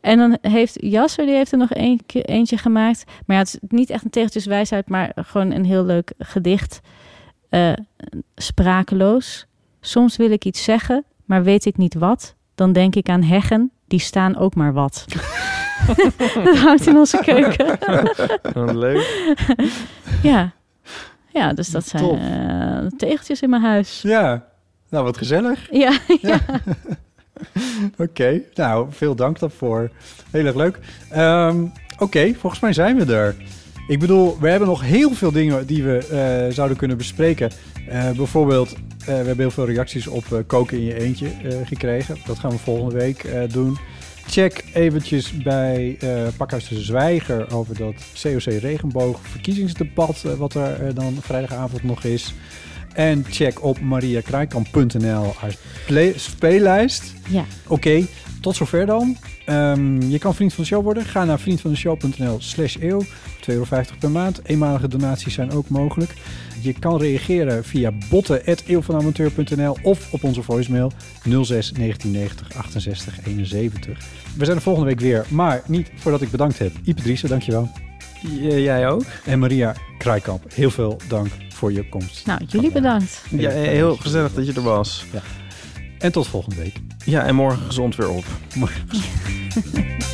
En dan heeft Jasser, die heeft er nog een, ke- eentje gemaakt. Maar ja, het is niet echt een tegeltjeswijsheid, maar gewoon een heel leuk gedicht. Eh, sprakeloos. Soms wil ik iets zeggen, maar weet ik niet wat. Dan denk ik aan heggen, die staan ook maar wat. Dat hangt in onze keuken.
Wat Oh, leuk.
ja. ja, dus dat zijn
Top.
eh, tegeltjes in mijn huis.
Ja, nou wat gezellig.
Ja, ja.
Oké, nou veel dank daarvoor. Heel erg leuk. Ehm, Oké, volgens mij zijn we er. Ik bedoel, we hebben nog heel veel dingen die we eh, zouden kunnen bespreken. Eh, bijvoorbeeld, eh, we hebben heel veel reacties op eh, koken in je eentje eh, gekregen. Dat gaan we volgende week eh, doen. Check eventjes bij eh, Pakhuis de Zwijger over dat COC Regenboog verkiezingsdebat... eh, wat er eh, dan vrijdagavond nog is. En check op mariakraaikamp.nl als play- speellijst.
Ja.
Oké, tot zover dan. Ehm, je kan vriend van de show worden. Ga naar vriendvandeshow.nl slash eeuw. 2,50 euro per maand. Eenmalige donaties zijn ook mogelijk. Je kan reageren via botten.eeuwvanamateur.nl of op onze voicemail 06 1990 68 71. We zijn er volgende week weer, maar niet voordat ik bedankt heb. Ipe Driessen, dankjewel.
jij ook?
En Maria Kraaikamp, heel veel dank voor je komst.
Nou, jullie bedankt.
Ja, heel gezellig dat je er was.
En tot volgende week.
Ja, en morgen gezond weer op.
Morgen.